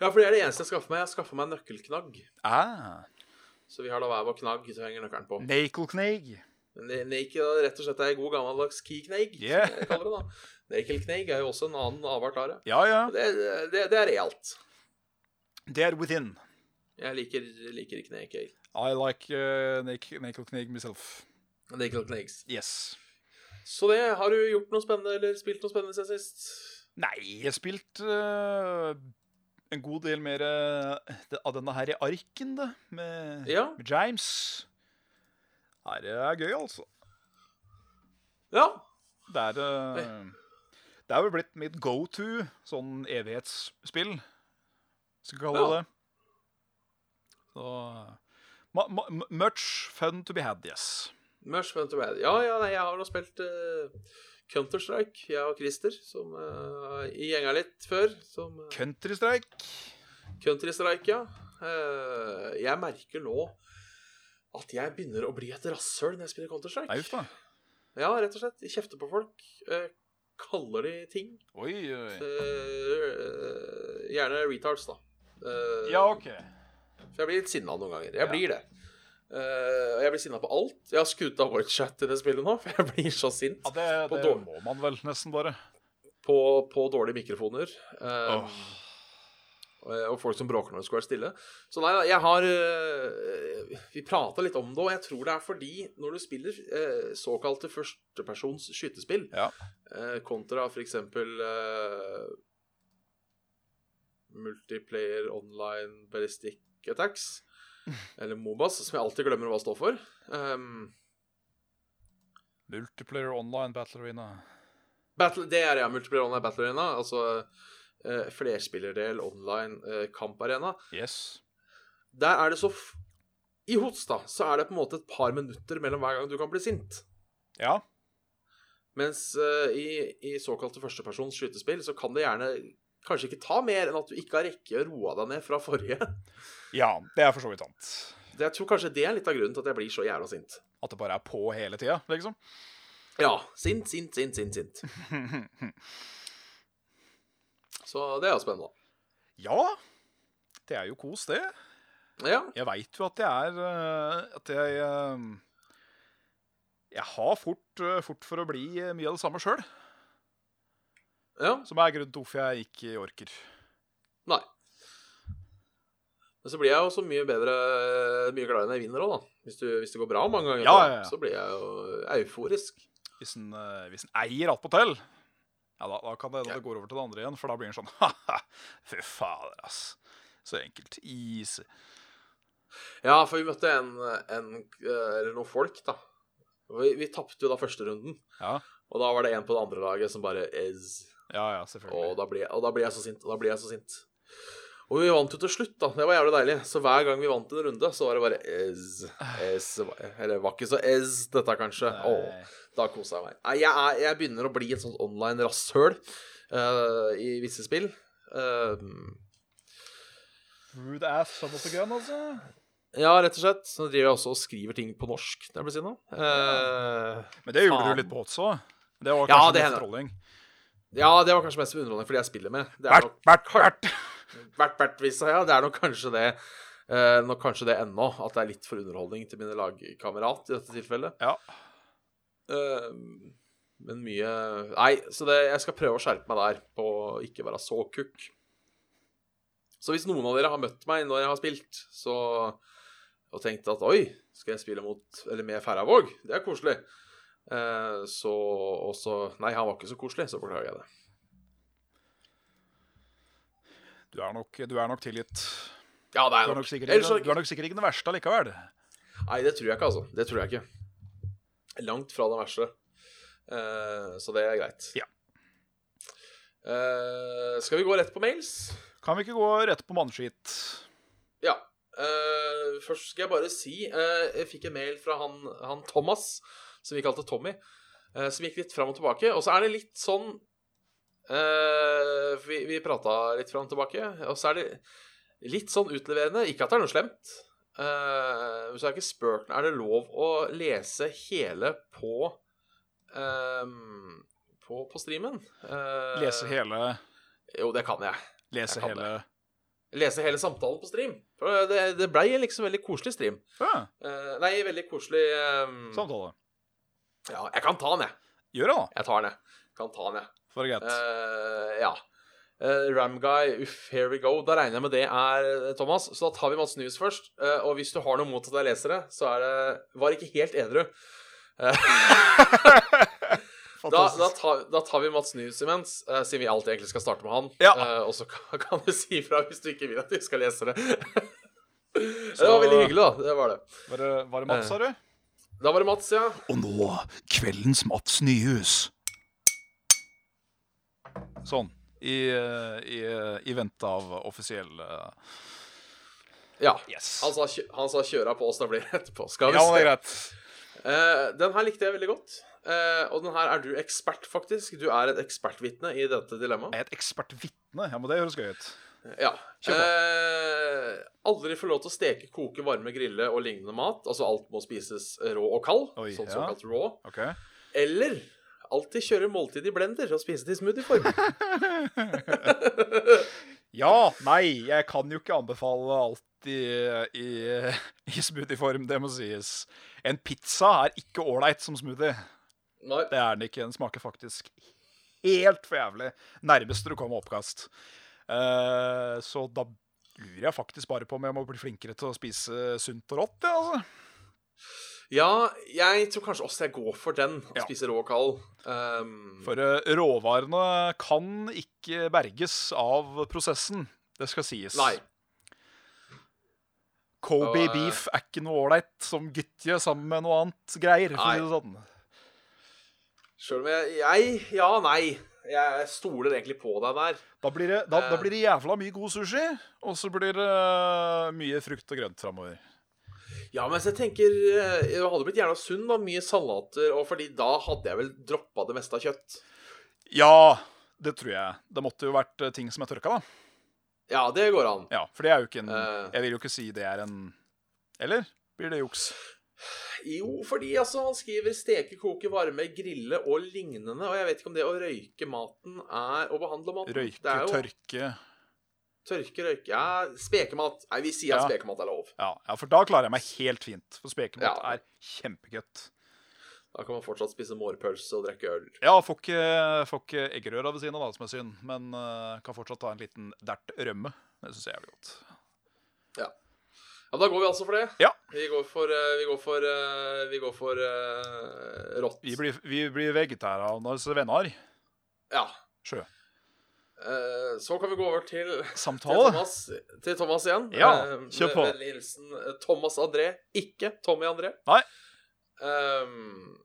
B: Ja, for det er det eneste jeg skaffer meg. Jeg skaffer meg en nøkkelknagg.
C: Ah,
B: Så vi har da hver vår knagg som henger nøkkelen på.
C: Nakelkneig.
B: Nake rett og slett er en god gammeldags keykneig,
C: Yeah.
B: som jeg kaller det da. Nakelkneig er jo også en annen avart av det.
C: Ja, ja.
B: Det, det, det er realt.
C: Det er within.
B: Jeg liker, liker ikke nakey.
C: I like uh, Nakelkneig myself.
B: Nakelkneigs.
C: Yes.
B: Så det, har du gjort noe spennende, eller spilt noe spennende siden sist?
C: Nei, jeg har spilt eh, en god del mer eh, det- av denne her i arken, da. Med,
B: Ja.
C: med James. Nei, det er gøy, altså.
B: Ja.
C: Det er eh, Det er vel blitt mitt go to sånn evighetsspill, skal vi kalle
B: Ja.
C: det. Så uh, ma- ma- Much fun to be had, yes.
B: Mush Fun to Bad. Ja, ja, nei, jeg har nå spilt eh, Counter-Strike, jeg og Christer, som eh, i gjenga litt før. Som eh,
C: Countrystrike.
B: Counter-Strike, ja. Eh, jeg merker nå at jeg begynner å bli et rasshøl når jeg spiller
C: Nei, uff
B: Counter-Strike.
C: da.
B: Ja, rett og slett. Jeg kjefter på folk. eh, kaller de ting.
C: Oi, oi.
B: Eh, gjerne retards, da. Eh,
C: Ja, OK.
B: For jeg blir litt sinna noen ganger. Jeg blir det. Eh, og jeg blir sinna på alt. Jeg har skutt av voicechat i det spillet nå, for jeg blir så sint.
C: Ja, det,
B: På
C: det
B: dår-
C: må man vel nesten bare.
B: På, på dårlige mikrofoner. Eh,
C: Åh.
B: og- Og folk som bråker når det skal være stille. Så nei da, jeg har eh, Vi prata litt om det, og jeg tror det er fordi når du spiller eh, såkalte førstepersons skytespill
C: Ja.
B: eh, kontra f.eks. Uh, multiplayer online ballistic attacks, eller Mobas, som jeg alltid glemmer hva står for um,
C: Multiplayer online battle arena.
B: Battle, det er ja, multiplayer online battle arena. Altså eh, flerspillerdel online eh, kamparena.
C: Yes.
B: Der er det så f I Hots, da, så er det på en måte et par minutter mellom hver gang du kan bli sint.
C: Ja.
B: Mens eh, i, i såkalte førstepersons skytespill så kan det gjerne kanskje ikke ta mer enn at du ikke har rekke å roe deg ned fra forrige.
C: Ja, det er for så vidt sant.
B: Det, jeg tror kanskje det er litt av grunnen til at jeg blir så jævla sint.
C: At det bare er på hele tida, liksom.
B: Ja. Sint, sint, sint, sint, sint. Så det er jo spennende.
C: ja. Det er jo kos, det.
B: Ja.
C: Jeg veit jo at jeg er eh, At jeg eh, Jeg har fort, eh, fort for å bli eh, mye av det samme sjøl.
B: ja.
C: Som er grunnen til hvorfor jeg ikke orker.
B: Nei. Men så blir jeg jo så mye bedre Mye gladere når jeg vinner òg, da. Hvis, du, hvis det går bra mange ganger,
C: Ja, ja, ja.
B: så blir jeg jo euforisk.
C: Hvis en, eh, hvis en eier attpåtil, ja, da, da kan det hende
B: Ja.
C: det går over til det andre igjen. For da blir en sånn ha-ha, fy fader, ass. Så enkelt. Easy.
B: Ja, for vi møtte en, en Eller noen folk, da. Og Vi, vi tapte jo da første runden,
C: Ja,
B: og da var det en på det andre laget som bare Ez.
C: ja, ja selvfølgelig.
B: Og da blir jeg, og da blir jeg så sint, og da blir jeg så sint. Og vi vant jo til slutt, da. Det var jævlig deilig. Så hver gang vi vant en runde, så var det bare ez, ez Eller var ikke så ez, dette, kanskje. Åh,
C: Nei.
B: da kosa jeg meg. Nei, Jeg, er, jeg begynner å bli et sånt online rasshøl eh, i visse spill. Eh,
C: Rude ass son of a gun, altså.
B: ja, rett og slett. Så driver jeg også og skriver ting på norsk, det jeg blir si nå. Eh,
C: Men det gjorde
B: Faen.
C: du litt på også. Det var
B: Ja,
C: kanskje
B: det
C: ja,
B: hender.
C: litt trolling.
B: ja, det var kanskje mest underholdning fordi jeg spiller med. Det er
C: Bert,
B: nok
C: Bert, Bert.
B: Hvert hvert vis, ja. Det er nok kanskje det. Eh, nok kanskje det ennå, at det er litt for underholdning til mine lagkamerat i dette tilfellet.
C: Ja.
B: Eh, men mye Nei, så det, jeg skal prøve å skjerpe meg der på å ikke være så kukk. Så hvis noen av dere har møtt meg når jeg har spilt, så og tenkt at oi, skal jeg spille mot eller med Færøyvåg? Det er koselig. Eh, så og så- Nei, han var ikke så koselig, så beklager jeg det.
C: Du er nok, du er nok tilgitt.
B: Ja, det er
C: Du er
B: nok.
C: nok sikkert
B: Ellers
C: ikke,
B: så-
C: du er nok sikkert ikke den verste allikevel.
B: Nei, det tror jeg ikke, altså. Det tror jeg ikke. Langt fra det verste. Eh, så det er greit.
C: Ja.
B: Eh, skal vi gå rett på mails?
C: Kan vi ikke gå rett på mannskit?
B: Ja. Eh, først skal jeg bare si eh, Jeg fikk en mail fra han, han Thomas, som vi kalte Tommy, eh, som gikk litt fram og tilbake. Og så er det litt sånn eh, for Vi, vi prata litt fram og tilbake, og så er det litt sånn utleverende. Ikke at det er noe slemt. eh, men så er det ikke spurt Er det lov å lese hele på eh, på, på streamen? Eh,
C: Lese hele,
B: Jo, det kan jeg.
C: lese
B: jeg kan
C: hele.
B: Lese hele samtalen på stream. For det, det blei en liksom veldig koselig stream.
C: Ja,
B: Eh, nei, veldig koselig ehm,
C: samtale.
B: Ja, jeg kan ta den, jeg.
C: Gjør det da,
B: Jeg tar den, jeg. Kan ta den, jeg.
C: for det er greit.
B: Eh, ja. Eh, Ramguy, uff, here we go. Da regner jeg med det er eh, Thomas. Så da tar vi Mats News først. Eh, og hvis du har noe mot at jeg leser det, så er det Var ikke helt edru. Da, da,
C: Fantastisk.
B: tar, da tar vi Mats News imens, eh, siden vi alltid egentlig skal starte med han.
C: Ja.
B: Eh, og så kan, kan du si ifra hvis du ikke vil at vi skal lese det.
C: Så-
B: det var veldig hyggelig, da. Det var det.
C: Var det, var
B: Eh.
C: det Mats, sa du?
B: Da var det Mats, ja.
C: Og nå, kveldens Mats Nyhus. Sånn. I, eh, i, eh, i vente av offisiell eh,
B: ja.
C: Yes.
B: Han sa, kjø- han sa 'kjøra på oss', da blir det etterpå. Skal vi
C: ja, det
B: se.
C: er greit.
B: Eh, den her likte jeg veldig godt. Eh, og den her er du ekspert, faktisk. Du er et ekspertvitne i dette dilemmaet.
C: Jeg er et ekspertvitne. Ja, men det høres gøy ut.
B: Ja.
C: Kjør på.
B: Eh, aldri få lov til å steke, koke, varme, grille og lignende mat. Altså alt må spises rå og kald.
C: Oi,
B: sånn
C: ja.
B: såkalt raw.
C: OK?
B: Eller alltid kjøre måltid i blender og spise det i smoothieform.
C: Ja, nei, jeg kan jo ikke anbefale alt i, i, i smoothieform, det må sies. En pizza er ikke ålreit som smoothie.
B: Nei.
C: Det er den ikke. Den smaker faktisk helt for jævlig. Nærmest du kommer oppkast. Eh, så da lurer jeg faktisk bare på om jeg må bli flinkere til å spise sunt og rått. Ja, altså.
B: Ja, jeg tror kanskje også jeg går for den. Å
C: Ja.
B: spise rå og kald. Um,
C: For eh, råvarene kan ikke berges av prosessen. Det skal sies.
B: Nei.
C: Kobe
B: Og, eh,
C: beef er ikke noe ålreit som gytje sammen med noe annet greier. For å si det sånn.
B: Sjøl om jeg, jeg Ja, nei. Jeg stoler egentlig på deg der.
C: Da blir, det, da, da
B: Eh.
C: blir det jævla mye god sushi, og så blir det eh, mye frukt og grønt framover.
B: Ja, men jeg tenker eh, Jeg hadde blitt gjerne sunn da, mye salater, og fordi da hadde jeg vel droppa det meste av kjøtt.
C: Ja, det tror jeg. Det måtte jo vært eh, ting som er tørka, da.
B: Ja, det går an.
C: Ja, For det er jo ikke en
B: Eh.
C: Jeg vil jo ikke si det er en Eller? Blir det juks?
B: Jo, fordi altså, han skriver steke, koke, varme, grille og lignende, og jeg vet ikke om det å røyke maten er å behandle maten.
C: Røyke,
B: det er jo
C: tørke
B: tørke, røyke Ja, spekemat. Nei, vi sier at
C: Ja.
B: spekemat er lov.
C: ja, ja, for da klarer jeg meg helt fint. For spekemat
B: Ja.
C: er kjempegodt.
B: Da kan man fortsatt spise mårpølse og drikke øl.
C: Ja, får ikke, får ikke eggerøra ved siden av, da, som er synd. Men eh, kan fortsatt ta en liten dert rømme. Det syns jeg er jævlig godt.
B: Ja, men da går vi altså for det.
C: Ja.
B: Vi går for eh, Vi går for, eh, vi går for eh, rått.
C: Vi blir, vi blir vegetarianernes venner.
B: Ja.
C: Sjø.
B: Eh, Så kan vi gå over til Til
C: Samtale.
B: Thomas, til Thomas igjen.
C: Ja,
B: Eh,
C: kjør
B: med
C: på.
B: Vennlig hilsen eh, Thomas André, ikke Tommy André.
C: Nei.
B: Ehm,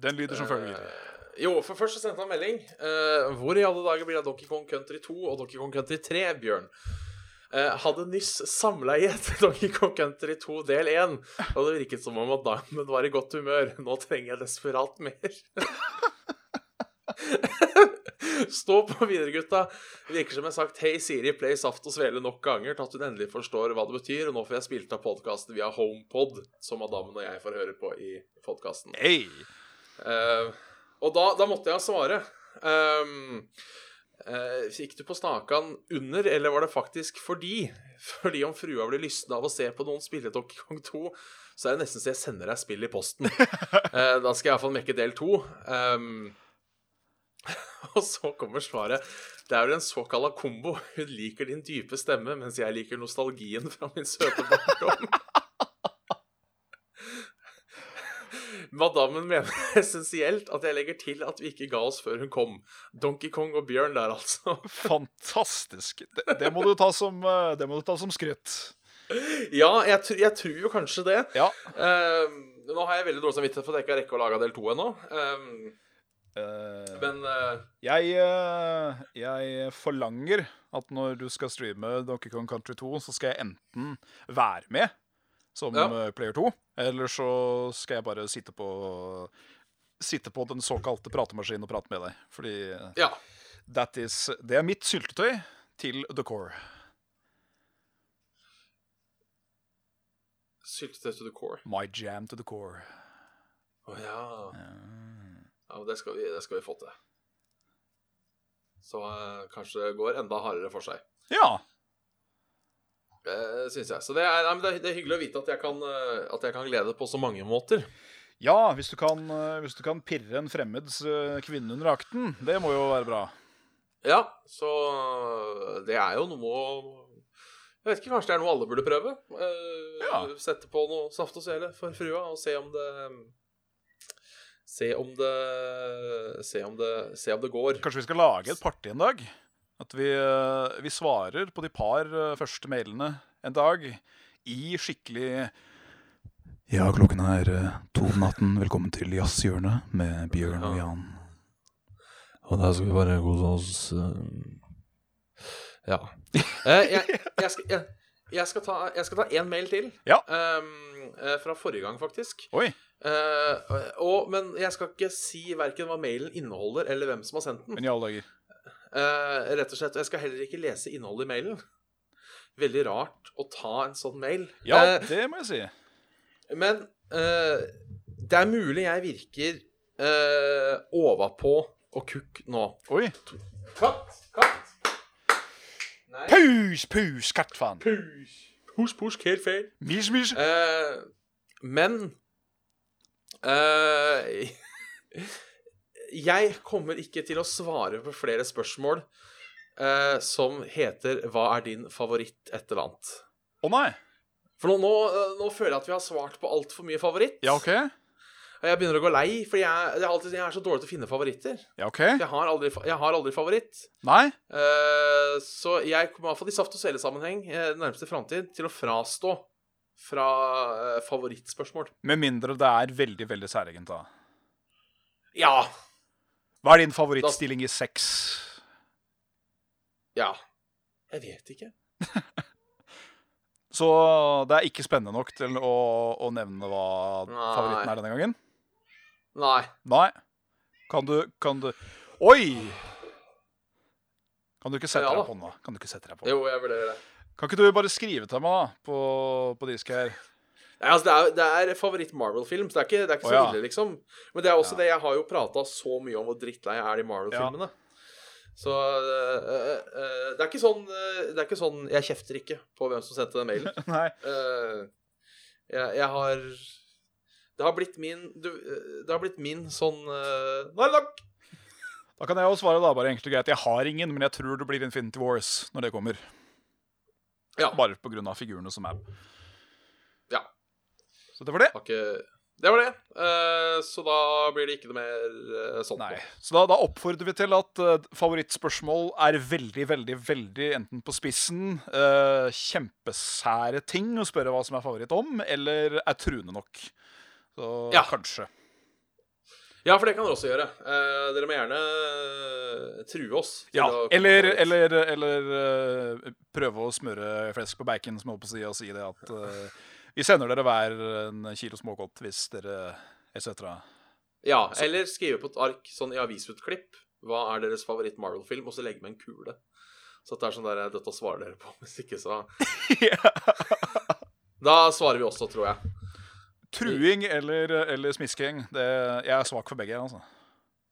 C: Den lyder som følger.
B: eh, Jo, for først så sendte han melding. eh, hvor i alle dager blir det av Donkey Kong Country 2 og Donkey Kong Country 3, Bjørn? Eh, hadde nyss samleie etter Donkey Kong Country 2 del 1, og det virket som om at Diamond var i godt humør. Nå trenger jeg desperat mer. Stå på videre, gutta. Virker som jeg har sagt Hei, Siri, play Saft og Svele nok ganger til at hun endelig forstår hva det betyr, og nå får jeg spilt av podkasten via HomePod, som Adamen og jeg får høre på i podkasten.
C: Hey.
B: Eh, og da, da måtte jeg svare. Ehm, eh, gikk du på snakan under, eller var det faktisk fordi? Fordi om frua blir lysten av å se på noen spille Donkey Kong 2, så er det nesten så jeg sender deg spill i posten. Eh, da skal jeg iallfall mekke del 2. Ehm, og så kommer svaret. Det er vel en såkalla kombo. Hun liker din dype stemme, mens jeg liker nostalgien fra min søte barndom. Madammen mener essensielt at jeg legger til at vi ikke ga oss før hun kom. Donkey Kong og Bjørn der, altså.
C: Fantastisk. Det, det, må du ta som, eh, det må du ta som skryt.
B: Ja, jeg, tr jeg tror jo kanskje det.
C: Ja.
B: Ehm, nå har jeg veldig dårlig samvittighet for at jeg ikke har rekke å lage del to ennå. Ehm,
C: Eh,
B: men eh,
C: jeg, eh, jeg forlanger at når du skal streame Donkey Kong Country 2, så skal jeg enten være med som
B: Ja.
C: eh, player 2, eller så skal jeg bare sitte på Sitte på den såkalte pratemaskinen og prate med deg. Fordi
B: ja.
C: that is, det er mitt syltetøy til the core.
B: Syltetøy to the core.
C: My jam to the core.
B: Å ja.
C: Eh,
B: ja men det, skal vi, det skal vi få til. Så eh, kanskje det går enda hardere for seg.
C: Ja.
B: Uh, Syns jeg. Så det er, nei, men det, er- det er hyggelig å vite at jeg, kan, eh, at jeg kan glede på så mange måter.
C: Ja, hvis du kan, eh, hvis du kan pirre en fremmeds eh, kvinne under akten. Det må jo være bra.
B: Ja, så øh, det er jo noe å Jeg vet ikke, kanskje det er noe alle burde prøve? Eh,
C: Ja.
B: Sette på noe saft og svele for frua og se om det Se om det Se om det, se om det går.
C: Kanskje vi skal lage et party en dag? At vi, eh, vi svarer på de par eh, første mailene en dag i skikkelig Ja, klokken er eh, to om natten. Velkommen til Jazzhjørnet med Bjørn og Jan.
B: Og der skal vi bare kose oss øh. Ja. Eh, jeg, jeg, skal, jeg, jeg skal ta Jeg skal ta én mail til.
C: Ja.
B: Ehm, eh, fra forrige gang, faktisk.
C: Oi.
B: Eh, og, men jeg skal ikke si verken hva mailen inneholder, eller hvem som har sendt den.
C: Men i alle dager.
B: Eh, rett og slett, og Jeg skal heller ikke lese innholdet i mailen. Veldig rart å ta en sånn mail.
C: Ja,
B: Eh,
C: det må jeg si.
B: men eh, det er mulig jeg virker uh, overpå og kukk nå.
C: Oi.
B: Katt! Katt! Nei.
C: Pus, pus, kattfaen.
B: Pus! Pus, pus, helt feil.
C: Mis, mis.
B: Eh, men eh, Jeg kommer ikke til å svare på flere spørsmål eh, som heter 'Hva er din favoritt?' et eller annet.
C: Å nei.
B: For nå, nå, eh, nå føler jeg at vi har svart på altfor mye favoritt.
C: Ja, OK.
B: Og jeg begynner å gå lei, for jeg, jeg, er alltid, jeg er så dårlig til å finne favoritter.
C: Ja, OK.
B: Jeg har aldri, fa- jeg har aldri favoritt.
C: Nei?
B: Eh, så jeg kommer i hvert fall i saft og svele-sammenheng eh, den nærmeste framtid til å frastå fra eh, favorittspørsmål.
C: Med mindre det er veldig, veldig særegent, da.
B: Ja.
C: Hva er din favorittstilling i sex?
B: Ja. Jeg vet ikke.
C: Så det er ikke spennende nok til å, å nevne hva
B: Nei.
C: favoritten er denne gangen?
B: Nei.
C: Nei. Kan du Kan du Oi! Kan du ikke sette
B: Ja
C: deg
B: da.
C: på den, da? Kan du ikke sette deg på den?
B: Jo, jeg vurderer det.
C: Kan ikke du bare skrive til meg, da, på, på disk her?
B: Nei, altså, det er, det er favoritt Marvel-film, så det er ikke, det er ikke
C: Å,
B: så
C: ja.
B: ille, liksom. Men det er også
C: Ja.
B: det jeg har jo prata så mye om hvor drittlei jeg er de Marvel-filmene. Så øh, øh, øh, det er ikke sånn øh, Det er ikke sånn Jeg kjefter ikke på hvem som sendte den mailen.
C: Nei.
B: Eh, jeg, jeg har Det har blitt min du, øh, Det har blitt min sånn øh, Nå er det nok!
C: Da kan jeg jo svare da, bare egentlig greit. Jeg har ingen, men jeg tror det blir Infinity Wars når det kommer.
B: Ja.
C: Bare pga. figurene som er
B: Ja.
C: Så det var det.
B: Har ikke Det var det. Eh, så da blir det ikke noe mer eh, sånt.
C: Nei.
B: nå.
C: Så da, da oppfordrer vi til at eh, favorittspørsmål er veldig, veldig, veldig enten på spissen, eh, kjempesære ting å spørre hva som er favoritt om, eller er truende nok. Så
B: Ja.
C: kanskje.
B: Ja, for det kan dere også gjøre. Eh, dere må gjerne eh, true oss. til
C: Ja.
B: å komme
C: Eller,
B: på det.
C: eller, eller eh, prøve å smøre flesk på bacon, som jeg holdt på å si, og si det at eh, vi sender dere hver en kilo smågodt hvis dere etc.
B: Ja, eller skrive på et ark sånn i avisutklipp Hva er deres favoritt Marvel-film? Og så legge med en kule. Så at det er sånn der Dette svarer dere på. Hvis ikke, så Da svarer vi også, tror jeg.
C: Truing eller, eller smisking. Det, jeg er svak for begge. altså.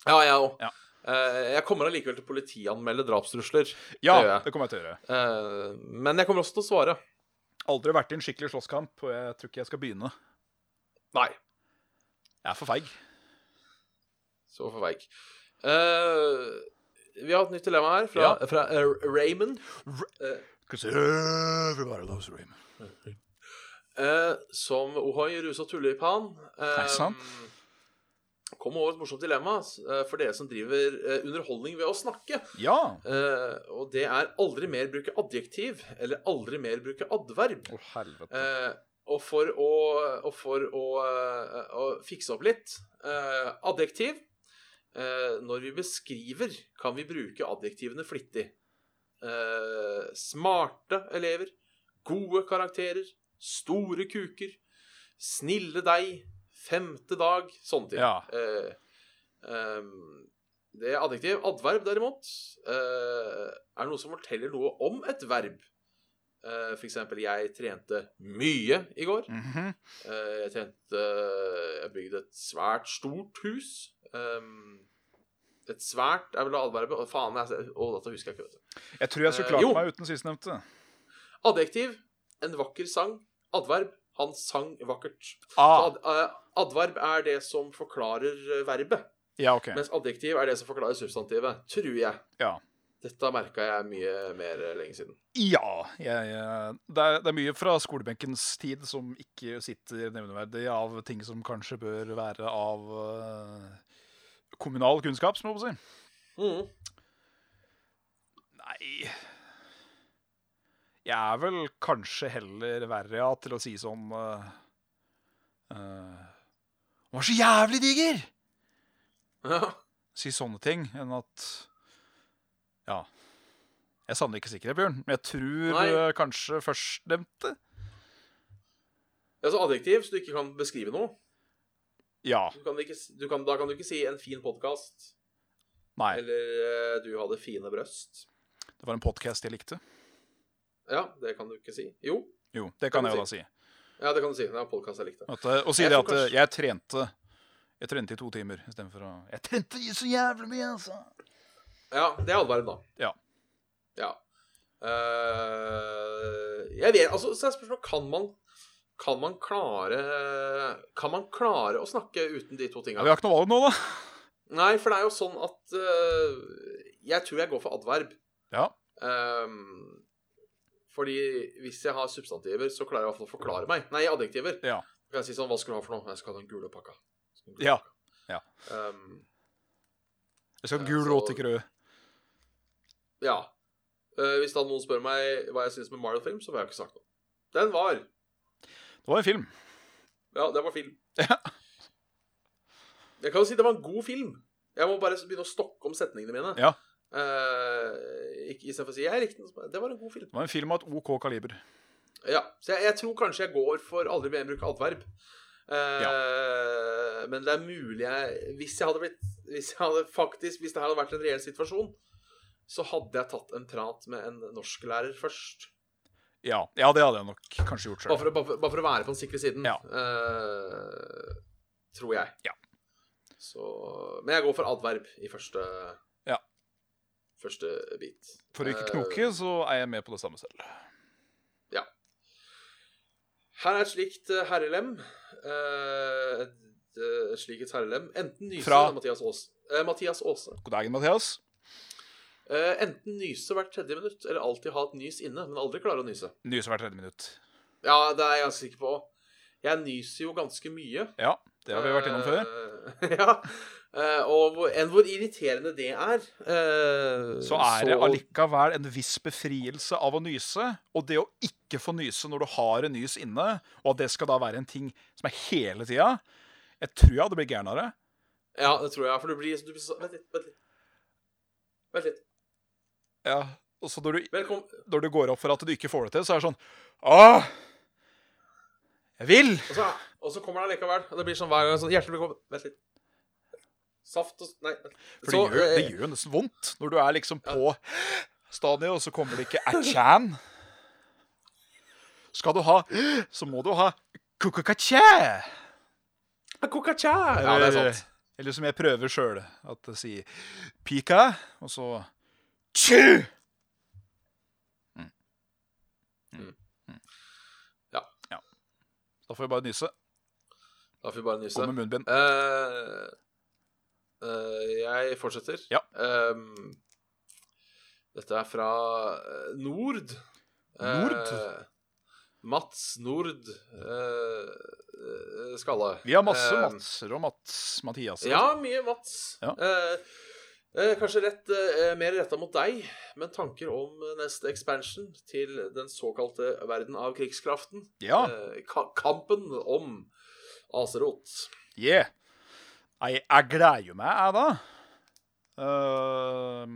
B: Ja, jeg òg.
C: Ja.
B: Eh, jeg kommer allikevel til å politianmelde drapstrusler.
C: Ja,
B: Det gjør jeg.
C: det kommer jeg til å gjøre.
B: Eh, men jeg kommer også til å svare.
C: Aldri vært i en skikkelig slåsskamp, og jeg tror ikke jeg skal begynne.
B: Nei.
C: Jeg er for feig.
B: Så for veik. Eh, vi har et nytt dilemma her fra,
C: Ja.
B: fra eh, Raymond. Eh, eh, som Ohoi rusa tullipan.
C: Nei, sant.
B: Eh, kom over et morsomt dilemma eh, for dere som driver eh, underholdning ved å snakke.
C: Ja.
B: Eh, og det er aldri mer bruke adjektiv eller aldri mer bruke adverb.
C: Å, helvete.
B: Eh, og for å, og for å, eh, å fikse opp litt eh, Adjektiv. Eh, når vi beskriver, kan vi bruke adjektivene flittig. Eh, smarte elever. Gode karakterer. Store kuker. Snille deg. Femte dag. Sånne ting.
C: Ja.
B: Eh, ehm, det er adjektiv. Adverb, derimot, eh, er noe som forteller noe om et verb. Eh, for eksempel, jeg trente mye i går.
C: Mhm.
B: Eh, jeg trente Jeg bygde et svært stort hus. Ehm, et svært er vel adverbet. Å, Faen, jeg, å, dette husker jeg ikke. vet du.
C: Jeg tror jeg skulle
B: Eh,
C: klart
B: jo.
C: meg uten sistnevnte.
B: Adjektiv en vakker sang. Adverb han sang vakkert.
C: Ah,
B: Ad, eh, adverb er det som forklarer eh, verbet.
C: ja, OK.
B: Mens adjektiv er det som forklarer substantivet, tror jeg.
C: Ja.
B: Dette merka jeg mye mer eh, lenge siden.
C: Ja. Jeg, eh, det, er, det er mye fra skolebenkens tid som ikke sitter nevneverdig av ting som kanskje bør være av eh, kommunal kunnskap, som jeg holdt på å si.
B: Mm.
C: Nei Jeg er vel kanskje heller verre ja, til å si sånn eh, eh, Han var så jævlig diger!
B: Ja.
C: Si sånne ting enn at Ja. Jeg savner ikke sikkerhet, Bjørn, men jeg tror
B: Nei.
C: eh, kanskje førstnevnte.
B: Altså adjektiv, så du ikke kan beskrive noe.
C: Ja.
B: Du kan ikke, du kan, da kan du ikke si 'en fin podkast'
C: Nei.
B: eller eh, 'du hadde fine brøst'.
C: Det var en podkast jeg likte.
B: Ja, det kan du ikke si. Jo.
C: Jo, det kan
B: Kan du
C: jeg jo da si.
B: Ja, det kan du si. Det er en podkast jeg likte.
C: At, eh, å si
B: Jeg
C: det
B: tror
C: at eh,
B: kanskje-
C: jeg trente Jeg trente i to timer istedenfor å Jeg trente så jævlig mye, altså!
B: Ja, det er adverb, da.
C: Ja.
B: Ja. Eh, jeg vet Altså, så er spørsmålet kan man kan man klare Kan man klare å snakke uten de to
C: Ja,
B: tinga?
C: vi har ikke noe valg nå, da.
B: Nei, for det er jo sånn at eh, Jeg tror jeg går for adverb.
C: Ja.
B: Ehm, fordi hvis jeg har substantiver, så klarer jeg i hvert fall å forklare meg. Nei, adjektiver.
C: Ja.
B: Da kan jeg si sånn Hva skulle du ha for noe? Jeg skal ha den gule pakka. Jeg skal ha den gule
C: Ja.
B: pakka.
C: Ja.
B: Ehm,
C: Jeg skal ha
B: Ja,
C: gul
B: så-
C: råte ikke rød.
B: ja. Eh, hvis da noen spør meg hva jeg syns med Marvel-film, så får jeg jo ikke sagt noe. Den var
C: Det var en film.
B: Ja, det var film.
C: Ja.
B: Jeg kan jo si det var en god film. Jeg må bare begynne å stokke om setningene mine.
C: Ja.
B: Eh, ikke- Istedenfor å si 'jeg likte den'. så bare, Det var en god film.
C: Det var en film av et OK kaliber.
B: Ja, så jeg, jeg tror kanskje jeg går for aldri mer bruke adverb. Eh, Men det er mulig jeg Hvis jeg hadde blitt Hvis jeg hadde faktisk Hvis det her hadde vært en reell situasjon, så hadde jeg tatt en prat med en norsklærer først.
C: Ja, ja det hadde jeg nok kanskje gjort
B: Bare
C: sjøl.
B: for, å- bare, for, bare for å være på den sikre siden,
C: Ja.
B: eh, tror jeg.
C: Ja.
B: Så Men jeg går for adverb i første
C: Ja.
B: Første bit.
C: For å ikke
B: Eh,
C: knoke, så er jeg med på det samme selv.
B: Her er et slikt eh, herrelem. Eh, et eh, et slikt herrelem. Enten nyse
C: Fra-
B: eller Mathias Aas- eh, Mathias Aase.
C: God dagen, Mathias.
B: Eh, enten nyse hvert tredje minutt, eller alltid ha et nys inne, men aldri klare å nyse.
C: Nyser hvert tredje minutt.
B: Ja, det er jeg ganske sikker på. Jeg nyser jo ganske mye.
C: Ja, Det har vi vært innom før.
B: Eh, ja. Eh, og hvor, enn hvor irriterende det er. eh,
C: Så er det allikevel en viss befrielse av å nyse. Og det å ikke få nyse når du har en nys inne, og at det skal da være en ting som er hele tida Jeg tror jeg hadde blitt gæren av det.
B: Ja, det tror jeg. For du blir, du blir så Vent litt. Vent litt. Vent litt.
C: Ja. Og så når du,
B: Velkommen.
C: når du går opp for at du ikke får det til, så er det sånn Åh! Jeg vil!
B: Og så, og så kommer det allikevel. Og det blir sånn hver gang. Sånn, hjertelig velkommen. Vent litt. Saft og Nei. vent.
C: For
B: Så,
C: det, gjør, det
B: eh,
C: gjør jo nesten vondt når du er liksom på stadiet, og så kommer det ikke atchan. Skal du ha, så må du ha kukakaché.
B: Kokacha! Ja, det er sant.
C: Eller som jeg prøver sjøl, at det sier pika, og så tju! Mm.
B: Mm. Ja.
C: Da får vi bare nyse.
B: Da får vi bare
C: Gå
B: nyse.
C: med munnbind.
B: Eh, eh, jeg fortsetter.
C: Ja.
B: Ehm, dette er fra eh, Nord. Eh,
C: Nord?
B: Mats Nord eh, eh, Skalle.
C: Vi har masse
B: Ehm,
C: Matser og Mats Mathias.
B: Ja, mye Mats.
C: altså. Ja.
B: Eh, eh, kanskje rett, eh, mer retta mot deg, men tanker om eh, neste expansion til den såkalte verden av krigskraften.
C: ja.
B: Eh, ka kampen om Aserot.
C: Yeah. Nei, jeg gleder jo meg, jeg, da. Ehm,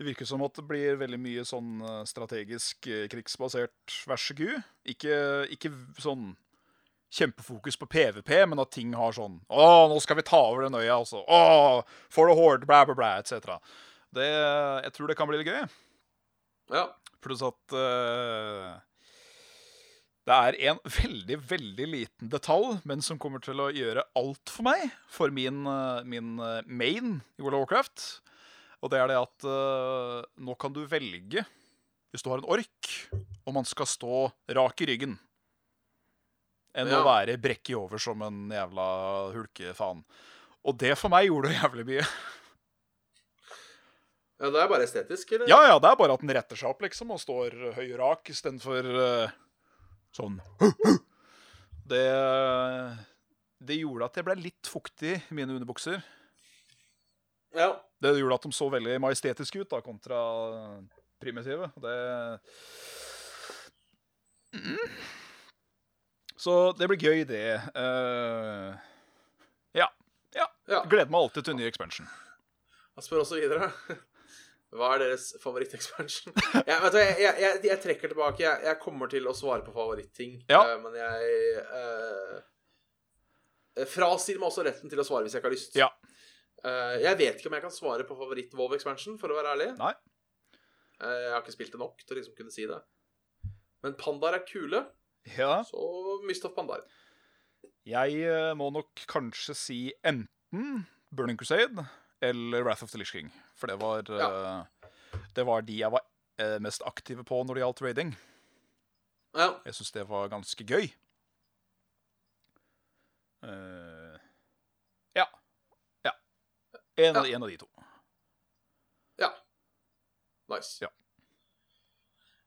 C: det virker som at det blir veldig mye sånn eh, strategisk eh, krigsbasert vær så god. Ikke, ikke v- sånn kjempefokus på PVP, men at ting har sånn Å, nå skal vi ta over den øya, altså. Å, for the horde, blæ, blæ, blæ, etc. Det, jeg tror det kan bli litt gøy.
B: Ja.
C: Pluss at eh, det er en veldig, veldig liten detalj, men som kommer til å gjøre alt for meg, for min, eh, min eh, main i World of Warcraft. Og det er det at eh, nå kan du velge, hvis du har en ork, om han skal stå rak i ryggen. Enn å
B: Ja.
C: være brekk i over som en jævla hulkefaen. Og det for meg gjorde jævlig mye.
B: ja. Det er bare estetisk, eller?
C: Ja, ja, det er bare at den retter seg opp, liksom, og står høy og rak istedenfor uh, sånn det, det gjorde at jeg ble litt fuktig i mine underbukser.
B: ja.
C: Det gjorde at de så veldig majestetiske ut, da, kontra primitive. Det mm. Så det blir gøy, det. Eh,
B: Ja,
C: gleder meg alltid til ny expansion.
B: Han spør også videre. Hva er deres favoritt-expansion? Jeg, vet du, jeg, jeg, jeg, jeg trekker tilbake. Jeg, jeg kommer til å svare på favorittting,
C: Ja.
B: eh, men jeg eh, Frasier meg også retten til å svare hvis jeg ikke har lyst.
C: Ja.
B: Eh, jeg vet ikke om jeg kan svare på favoritt-Vov-expansion, for å være ærlig.
C: Nei.
B: Eh, jeg har ikke spilt det nok til å liksom kunne si det. Men pandaer er kule,
C: Ja.
B: så mist av pandaer.
C: Jeg eh, må nok kanskje si enten Burning Crusade eller Wrath of the Lich King. For det var, eh, det var de jeg var eh, mest aktive på når det gjaldt raiding.
B: Ja.
C: Jeg syns det var ganske gøy. Eh, ja. Ja. En, Av,
B: Ja.
C: en av de to.
B: Ja. Nice.
C: Ja.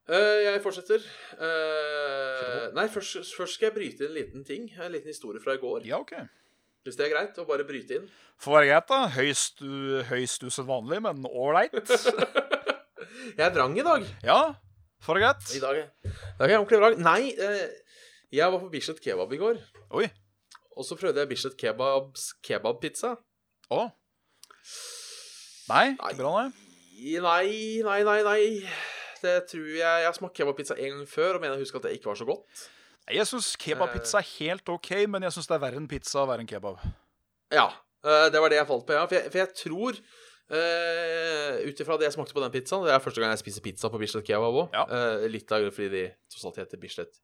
B: Eh, jeg fortsetter. Eh,
C: Kjør
B: nei, først, først skal jeg bryte inn en liten ting. En liten historie fra i går.
C: Ja, OK.
B: Hvis det er greit å bare bryte inn.
C: Får være greit, da. Høyst, u- høyst usedvanlig, men ålreit.
B: jeg er vrang i dag.
C: Ja, får være greit.
B: I dag, er- i dag er jeg ordentlig vrang. Nei, eh, jeg var på Bislett Kebab i går.
C: Oi.
B: Og så prøvde jeg Bislett Kebabs kebabpizza.
C: Å. Nei,
B: Nei.
C: ikke bra, nei.
B: Nei, nei, nei, nei. Det tror jeg Jeg har smakt kebabpizza en gang før og mener jeg husker at det ikke var så godt.
C: Nei, Jeg syns kebabpizza er helt OK, men jeg syns det er verre enn pizza og verre enn kebab.
B: Ja, eh, det var det jeg falt på, ja. For jeg, for jeg tror Uh, Ut ifra det jeg smakte på den pizzaen Det er første gang jeg spiser pizza på Bislett Kebab òg.
C: Ja.
B: litt av grunnen fordi de tross alt heter Bislett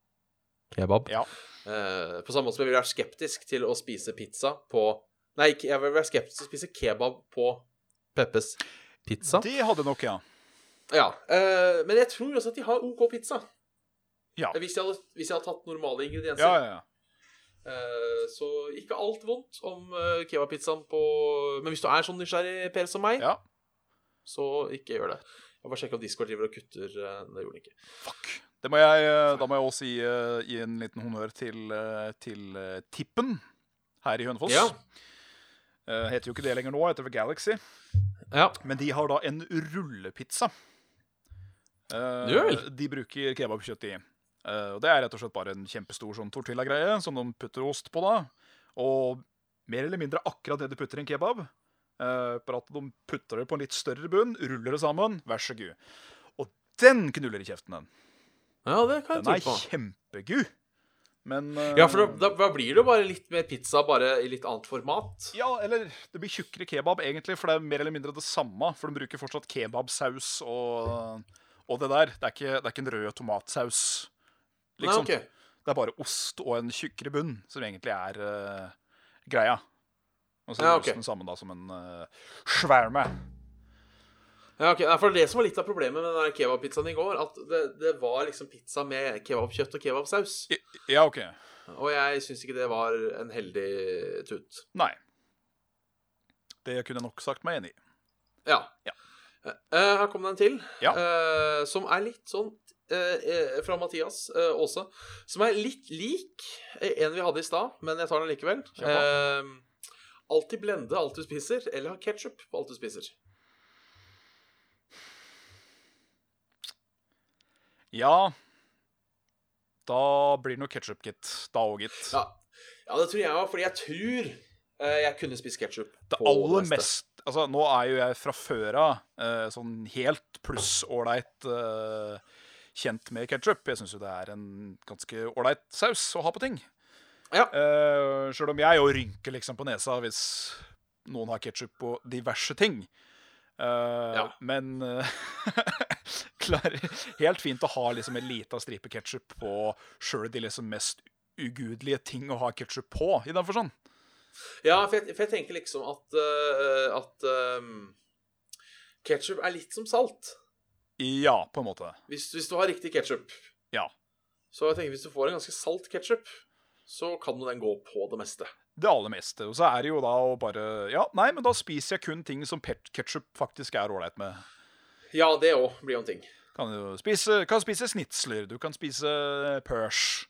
B: Kebab.
C: Ja.
B: Eh, på samme måte som jeg vil være skeptisk til å spise pizza på Nei, ikke- jeg vil være skeptisk til å spise kebab på Peppes pizza.
C: Det hadde nok, ja.
B: Ja, eh, Men jeg tror også at de har OK pizza.
C: Ja.
B: Hvis, jeg hadde, hvis jeg hadde tatt normale ingredienser.
C: Ja, ja, ja.
B: Eh, Så ikke alt vondt om eh, kebabpizzaen på Men hvis du er sånn nysgjerrig Per som meg,
C: Ja.
B: så ikke gjør det. Jeg bare sjekker om Discord driver og kutter. eh, Det gjorde den ikke.
C: Fuck. Det må jeg, eh, da må jeg også gi, eh, gi en liten honnør til, eh, til eh, Tippen her i Hønefoss.
B: Ja.
C: Eh, heter jo ikke det lenger nå, heter det Galaxy.
B: ja.
C: Men de har da en rullepizza. Eh,
B: Det gjør vel?
C: de bruker kebabkjøtt i. Eh, og Det er rett og slett bare en kjempestor sånn tortilla-greie som de putter ost på. da. Og mer eller mindre akkurat det de putter i en kebab. eh, bare at de putter det på en litt større bunn, ruller det sammen, vær så god. Og den knuller i kjeften, den.
B: ja, det kan jeg
C: Den
B: tro
C: er
B: på.
C: kjempegod. Men eh,
B: Ja, for da, da, da blir det jo bare litt mer pizza, bare i litt annet format.
C: Ja, eller det blir tjukkere kebab, egentlig, for det er mer eller mindre det samme. For de bruker fortsatt kebabsaus og, og det der. Det er, ikke, det er ikke en rød tomatsaus. Liksom.
B: Nei, ok.
C: Det er bare ost og en tjukkere bunn som egentlig er eh, greia. Og så er
B: Ja,
C: det
B: ok.
C: den samme da som en uh, sværme.
B: Ja, ok. Nei, for det er det som var litt av problemet med den der kebabpizzaen i går, at det, det var liksom pizza med kebabkjøtt og kebabsaus.
C: Ja, OK.
B: Og jeg syns ikke det var en heldig tut.
C: Nei. Det kunne jeg nok sagt meg enig i.
B: Ja.
C: Ja.
B: Eh, her kom det en til,
C: Ja.
B: eh, som er litt sånn eh, eh, fra Mathias eh, Aase. Som er litt lik eh, en vi hadde i stad, men jeg tar den likevel.
C: Kjør
B: Eh, alltid blende alt du spiser, eller ha ketsjup på alt du spiser.
C: Ja Da blir det noe ketsjup, gitt. Da òg, gitt.
B: Ja. ja, det tror jeg òg, fordi jeg tror eh, jeg kunne spist ketsjup.
C: Det aller mest Altså, nå er jo jeg fra før av eh, sånn helt pluss ålreit eh, kjent med ketsjup. Jeg syns jo det er en ganske ålreit saus å ha på ting.
B: Ja.
C: Eh, Sjøl om jeg jo rynker liksom på nesa hvis noen har ketsjup på diverse ting. Eh,
B: Ja.
C: Men eh, klarer helt fint å ha liksom en lita stripe ketsjup på sjøl de liksom mest ugudelige ting å ha ketsjup på, i den forstand.
B: Ja, for jeg, for jeg tenker liksom at, uh, at ketsjup er litt som salt.
C: Ja, på en måte.
B: Hvis, hvis du har riktig ketsjup.
C: Ja.
B: Så jeg tenker hvis du får en ganske salt ketsjup, så kan jo den gå på det meste.
C: det aller meste. Og så er det jo da å bare Ja, nei, men da spiser jeg kun ting som ketsjup faktisk er ålreit med.
B: Ja, det òg blir jo en ting.
C: Kan jo spise, kan spise snitsler, du kan spise pers,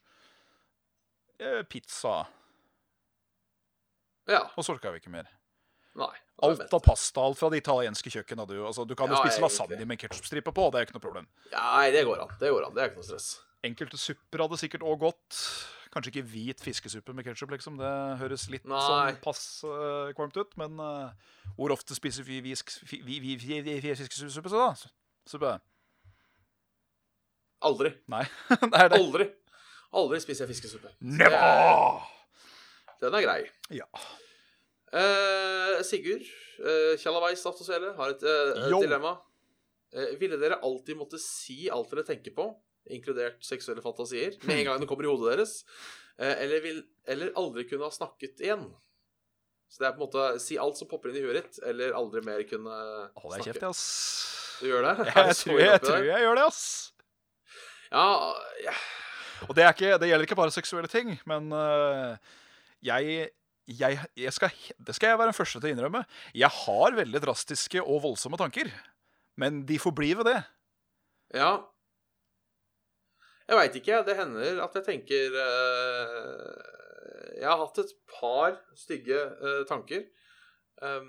C: eh, pizza
B: Ja.
C: Og så orka vi ikke mer.
B: Nei. det er
C: Alt
B: best.
C: av pasta alt fra det italienske kjøkkenet. Du, altså, du kan jo
B: Ja,
C: spise
B: egentlig.
C: lasagne med ketsjupstripe på, det er ikke noe problem.
B: Nei, det går an. Det går an, det er ikke noe stress.
C: Enkelte supper hadde sikkert òg gått. Kanskje ikke hvit fiskesuppe med ketsjup, liksom. Det høres litt
B: Nei.
C: sånn pass eh, kvalmt ut. Men eh, hvor ofte spiser vi, vi, vi, vi, vi, vi, vi fiskesuppe, så da? Suppe?
B: Aldri.
C: Nei. det er det.
B: Aldri. Aldri spiser jeg fiskesuppe.
C: Never!
B: Den er grei.
C: Ja.
B: Eh, Sigurd eh, Kjallavais Aftosele har et eh,
C: Yo.
B: dilemma. Eh, ville dere alltid måtte si alt dere tenker på, inkludert seksuelle fantasier, med en gang det kommer i hodet deres? Eh, eller, vil, eller aldri kunne ha snakket igjen? Så det er på en måte si alt som popper inn i huet ditt, eller aldri mer kunne
C: Hold deg kjeft, ass.
B: Du gjør det?
C: Jeg,
B: Er det så
C: tror,
B: ille
C: jeg
B: oppi
C: tror
B: deg?
C: jeg gjør det, ass.
B: Ja, ja.
C: Og det, er ikke, det gjelder ikke bare seksuelle ting, men øh, jeg, jeg, jeg skal, he- Det skal jeg være den første til å innrømme. Jeg har veldig drastiske og voldsomme tanker. Men de forblir ved det.
B: Ja. Jeg veit ikke. Det hender at jeg tenker eh, Jeg har hatt et par stygge eh, tanker. Um,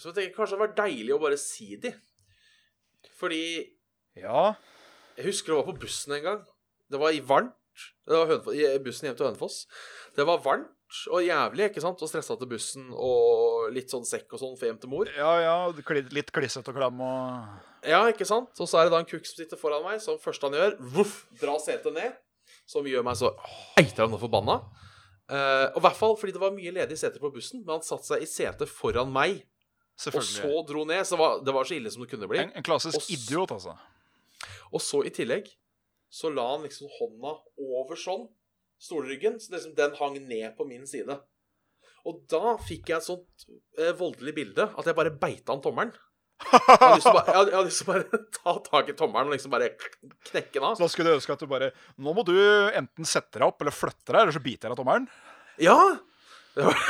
B: som jeg tenker kanskje hadde vært deilig å bare si de. Fordi jeg
C: Ja.
B: husker det var på bussen en gang. Det var i varmt. Det var Hønefo- i bussen hjem til Hønefoss. Det var varmt og jævlig, ikke sant? Og stressa til bussen og litt sånn sekk og sånn for hjem til mor.
C: Ja, ja. kli- Litt klissete og klam og
B: Ja, ikke sant? Og så er det da en kukk som sitter foran meg, som første han gjør, voff, drar setet ned. Som gjør meg så eitrende forbanna. Eh, og i hvert fall fordi det var mye ledige seter på bussen, men han satte seg i setet foran meg, og så
C: Selvfølgelig.
B: dro ned. Så var, det var så ille som det kunne bli.
C: En, en klassisk
B: og s-
C: idiot, altså.
B: Og så i tillegg så la han liksom hånda over sånn, stolryggen, så liksom den hang ned på min side. Og da fikk jeg et sånt eh, voldelig bilde at jeg bare beita han tommelen. Jeg hadde lyst til å bare, jeg hadde, jeg hadde lyst til å bare ta tak i tommelen og liksom bare knekke den av.
C: Så da skulle jeg ønske at du bare Nå må du enten sette deg opp eller flytte deg, eller så biter jeg deg av tommelen.
B: Ja! Det var,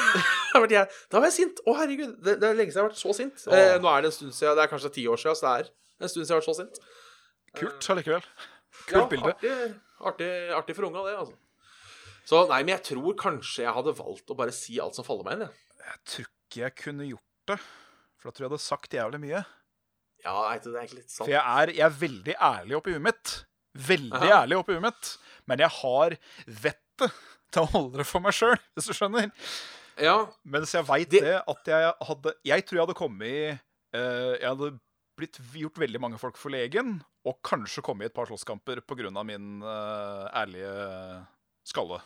B: da ble jeg, da var jeg sint. Å, herregud. Det, det er lenge siden jeg har vært så sint. Eh, nå er det en stund siden, det er kanskje ti år siden, så det er en stund siden jeg har vært så sint.
C: Kult allikevel. Kult bilde.
B: Artig, artig, artig for unga, det, altså. Så nei, men jeg tror kanskje jeg hadde valgt å bare si alt som faller meg inn, jeg.
C: Jeg tror ikke jeg kunne gjort det, for da tror jeg jeg hadde sagt jævlig mye.
B: Ja, nei, det er egentlig litt sant.
C: For jeg er, jeg er veldig ærlig oppi huet mitt. Veldig
B: Aha.
C: ærlig oppi huet mitt. Men jeg har vettet til å holde det for meg sjøl, hvis du skjønner.
B: Ja,
C: Mens jeg veit det,
B: Det-
C: at jeg hadde Jeg tror jeg hadde kommet i eh, Jeg hadde blitt gjort veldig mange folk forlegen, og kanskje kommet i et par slåsskamper pga. min eh, ærlige skalle.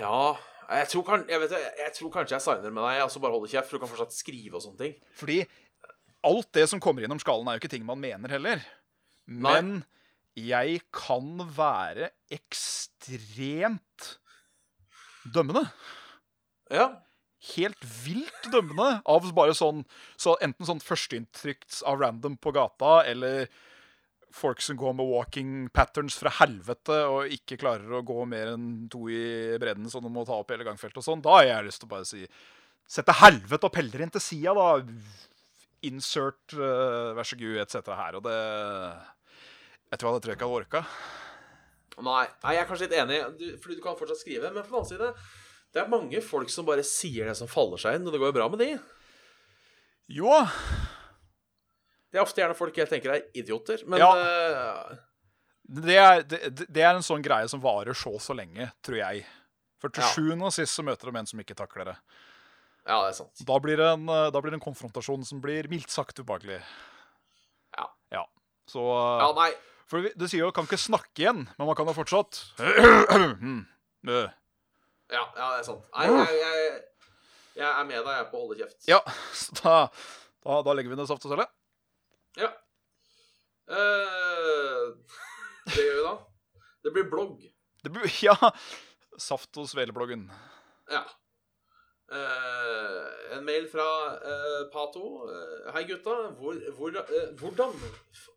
B: ja. Jeg tror, kan, jeg, vet, det, jeg tror kanskje jeg signer med deg, altså bare holder kjeft, for du kan fortsatt skrive og sånne ting.
C: Fordi alt det som kommer innom skallen, er jo ikke ting man mener heller.
B: Nei.
C: Men jeg kan være ekstremt dømmende.
B: Ja,
C: helt vilt dømmende av bare sånn så Enten sånn førsteinntrykk av random på gata, eller folk som går med walking patterns fra helvete og ikke klarer å gå mer enn to i bredden, så de må ta opp hele gangfeltet og sånn. Da har jeg lyst til å bare si Sett til helvete og peller inn til sida, da. Insert eh, vær så god, etc. her. Og det Jeg tror jeg hadde tror jeg ikke hadde orka.
B: Nei, nei, jeg er kanskje litt enig, du, fordi du kan fortsatt skrive. Men på den annen side, det er mange folk som bare sier det som faller seg inn, og det går jo bra med de.
C: Jo,
B: Det er ofte gjerne folk jeg tenker er idioter, men
C: Ja.
B: eh,
C: Det er, det, det- det er en sånn greie som varer så og så lenge, tror jeg. For til
B: Ja.
C: sjuende og sist så møter de en som ikke takler det.
B: ja, det er sant.
C: Da blir det en, eh, da blir det en konfrontasjon som blir mildt sagt ubehagelig.
B: Ja.
C: Så
B: Ja, nei.
C: For vi- det sier jo 'kan ikke snakke igjen', men man kan jo fortsatt Mm. Øh.
B: Ja, ja det er sant. Nei, jeg, jeg, jeg er med deg, jeg, er på å holde kjeft.
C: Ja, så da, da, da legger vi ned saft og selge.
B: Ja. Eh, det gjør vi da. Det blir blogg.
C: Det blir, ja. Saft og svelebloggen.
B: Ja. Eh, en mail fra eh, Pato. Eh, Hei, gutta. Hvor, hvor, eh, hvordan,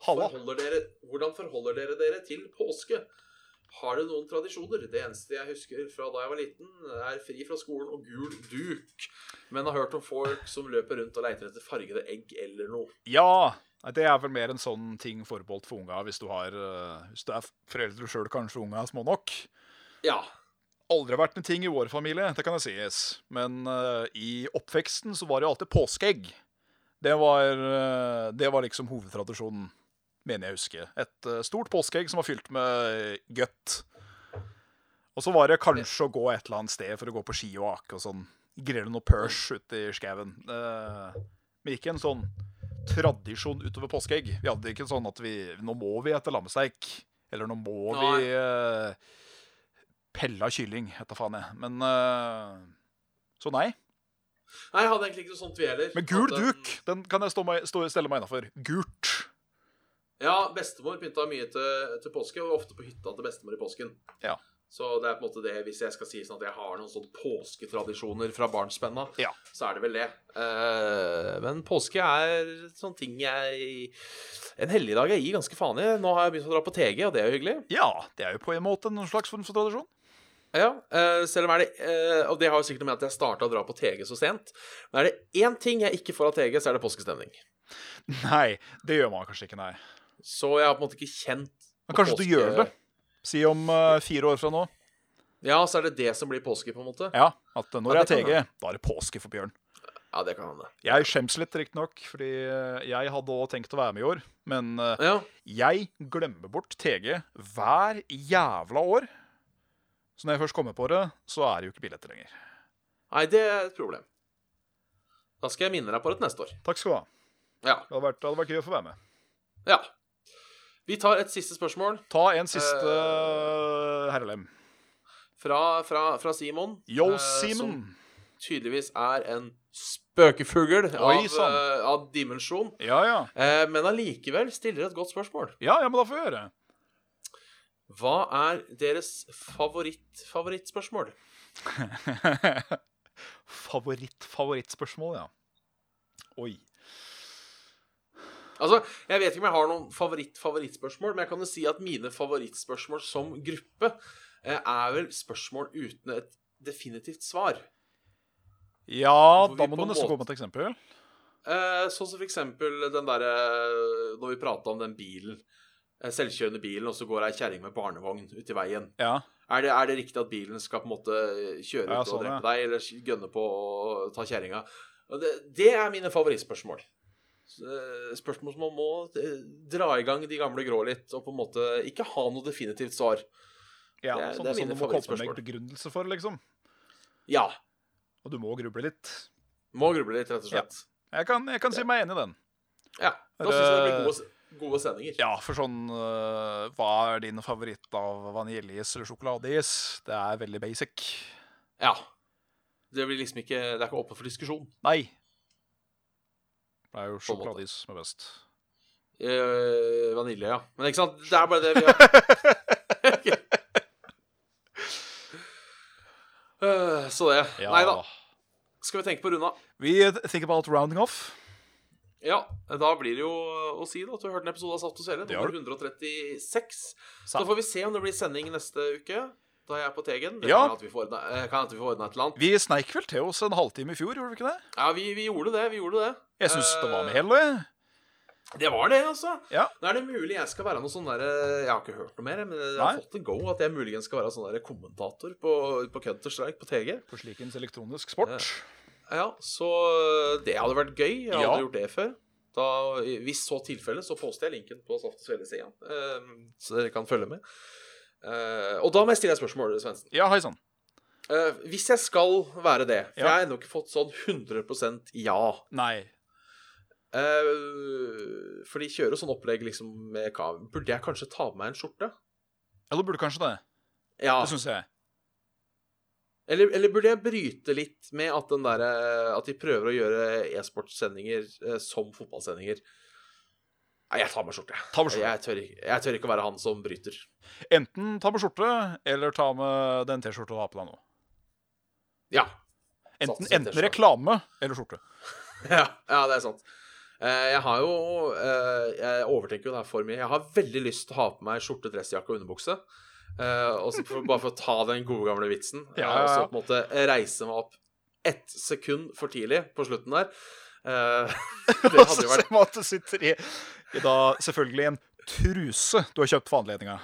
C: Halla.
B: forholder dere, hvordan forholder dere dere til påske? Har dere noen tradisjoner? Det eneste jeg husker fra da jeg var liten, er fri fra skolen og gul duk. Men har hørt om folk som løper rundt og leiter etter fargede egg eller noe.
C: Ja. Nei, Det er vel mer en sånn ting forbeholdt for unga hvis du har eh, Hvis du er foreldre sjøl, kanskje unga er små nok.
B: Ja.
C: aldri vært en ting i vår familie, det kan jeg sies. Men eh, i oppveksten så var det jo alltid påskeegg. Det var, eh, det var liksom hovedtradisjonen, mener jeg å huske. Et eh, stort påskeegg som var fylt med eh, gøtt. Og så var det kanskje å gå et eller annet sted for å gå på ski og ake og sånn. Grille noe pørs ute i skauen. Eh, men ikke en sånn tradisjon utover påskeegg. Vi hadde ikke sånn at vi Nå må vi etter lammesteik. Eller nå må vi eh, pella kylling, heter faen jeg. Men eh, Så nei.
B: Nei, jeg hadde egentlig ikke noe sånt, vi heller.
C: Men gul
B: At, eh,
C: duk, den kan jeg stå meg, stå, stelle meg innafor. Gult.
B: Ja, bestemor pynta mye til, til påske, og ofte på hytta til bestemor i påsken.
C: Ja.
B: Så det er på en måte det, hvis jeg skal si sånn at jeg har noen sånne påsketradisjoner fra barnsbenna,
C: Ja.
B: så er det vel det. Eh, men påske er sånn ting jeg En helligdag jeg gir ganske faen i. Nå har jeg begynt å dra på TG, og det er jo hyggelig.
C: Ja, det er jo på en måte en slags form for tradisjon.
B: Ja, eh, selv om er det eh, Og det har jo sikkert med at jeg starta å dra på TG så sent. Men er det én ting jeg ikke får av TG, så er det påskestemning.
C: Nei, det gjør man kanskje ikke, nei.
B: Så jeg har på en måte ikke kjent
C: Men
B: på
C: kanskje du
B: påske-
C: gjør det. Si om eh, fire år fra nå.
B: Ja, så er det det som blir påske, på en måte.
C: Ja, at eh, når
B: Ja,
C: jeg
B: det
C: er
B: kan
C: TG, da er det påske for Bjørn.
B: Ja, det kan hende.
C: Jeg skjems litt, riktignok, fordi eh, jeg hadde òg tenkt å være med i år. Men eh,
B: Ja.
C: Jeg glemmer bort TG hver jævla år. Så når jeg først kommer på det, så er det jo ikke billetter lenger.
B: Nei, det er et problem. Da skal jeg minne deg på det til neste år.
C: Takk skal du ha.
B: Ja.
C: Det hadde vært, det hadde vært gøy å få være med.
B: ja. Vi tar et siste spørsmål
C: Ta en siste
B: Eh,
C: eh, herrelem.
B: fra, fra, fra Simon.
C: Yo,
B: eh,
C: Simen.
B: Som tydeligvis er en spøkefugl av,
C: Oi, sånn. sann.
B: eh, av dimensjon.
C: Ja, ja.
B: Eh, men allikevel stiller et godt spørsmål.
C: Ja, ja, men da får vi høre.
B: Hva er deres favoritt-favorittspørsmål?
C: Favoritt-favorittspørsmål, ja. Oi.
B: Altså, Jeg vet ikke om jeg har noen favoritt-favorittspørsmål, men jeg kan jo si at mine favorittspørsmål som gruppe eh, er vel spørsmål uten et definitivt svar.
C: Ja,
B: Hvor
C: da
B: vi
C: må
B: på
C: du
B: en
C: nesten
B: måte-
C: komme med et eksempel.
B: Eh, Sånn som for eksempel den derre Når vi prata om den bilen. eh, selvkjørende bilen, og så går ei kjerring med barnevogn ut i veien.
C: Ja.
B: Er det, er det riktig at bilen skal på en måte kjøre ut
C: Ja,
B: og
C: sånn, ja.
B: drepe deg, eller gønne på å ta kjerringa? Og Det, det er mine favorittspørsmål. S- eh, Spørsmål som man må eh, dra i gang de gamle grå litt, og på en måte ikke ha noe definitivt svar.
C: ja
B: Det er-
C: sånn,
B: det er
C: sånn
B: mine
C: du må komme med
B: favorittspørsmål.
C: begrunnelse for, liksom.
B: Ja.
C: Og du må gruble litt.
B: Må gruble litt, rett og slett.
C: Jeg kan, jeg kan si meg enig i den.
B: Ja. Da syns jeg det blir gode, s- gode sendinger.
C: Ja, for sånn øh, Hva er din favoritt av vaniljeis eller sjokoladeis? Det er veldig basic.
B: Ja. Det blir liksom ikke Det er ikke åpent for diskusjon.
C: Nei. Det er jo
B: På en måte.
C: sjokoladeis som er best.
B: Eh, vanilje, ja. Men ikke sant, det er bare det vi har Eh, Så det.
C: Ja.
B: Nei da. Skal vi tenke på runda?
C: Vi think about rounding off.
B: Ja, da blir det jo å si da, at du har hørt en episode av Saft og Svele.
C: Det har
B: Nummer 136.
C: Sa-
B: Så får vi se om det blir sending neste uke. Da er jeg på Tegen. Det
C: Ja.
B: kan hende at vi får ordna- eh, kan hende at vi får ordna et eller annet.
C: Vi sneik vel til oss en halvtime i fjor, gjorde vi ikke det?
B: Ja, vi, vi gjorde det. Vi gjorde det.
C: Jeg syns det var
B: Eh,
C: med hell, det.
B: Det var det, altså.
C: Ja.
B: Nå er det mulig jeg skal være noe sånn der Jeg har ikke hørt noe mer, men jeg har
C: Nei.
B: fått en go at jeg muligens skal være sånn der kommentator på, på Counter-Strike på TG.
C: På slikens elektronisk sport.
B: Ja, Så eh, det hadde vært gøy. Jeg har
C: Ja.
B: aldri gjort det før. Da, hvis så tilfelle, så poster jeg linken på Saft og Svele-sida, eh, så dere kan følge med. Eh, og da må jeg stille deg spørsmål, Svendsen.
C: Ja, hei sann.
B: Eh, hvis jeg skal være det, for
C: Ja.
B: jeg har ennå ikke fått sånn 100 ja
C: Nei.
B: Eh, for de kjører jo sånn opplegg liksom med kav. Burde jeg kanskje ta på meg en skjorte?
C: Ja, du burde kanskje det.
B: Ja.
C: Det sånn- syns jeg.
B: Eller, eller burde jeg bryte litt med at, den der, eh, at de prøver å gjøre e-sportsendinger eh, som fotballsendinger? Nei, jeg tar meg skjorte.
C: Ta med skjorte.
B: Jeg tør, ikke- jeg tør ikke å være han som bryter.
C: Enten ta med skjorte, eller ta med den T-skjorta du har på deg nå.
B: Ja.
C: Enten,
B: Satser
C: enten
B: T-skjorte.
C: reklame eller skjorte.
B: ja. Ja, det er sant. Eh, Jeg har jo eh, Jeg overtenker jo det her for mye. Jeg har veldig lyst til å ha på meg skjorte, dressjakke og underbukse. Eh, og så for, bare for å ta den gode gamle vitsen.
C: Ja,
B: Eh, Og
C: ja,
B: så
C: ja.
B: på en måte reise meg opp ett sekund for tidlig på slutten der. Eh, det hadde jo vært
C: Som at du sitter i, i da selvfølgelig en truse du har kjøpt for anledninga.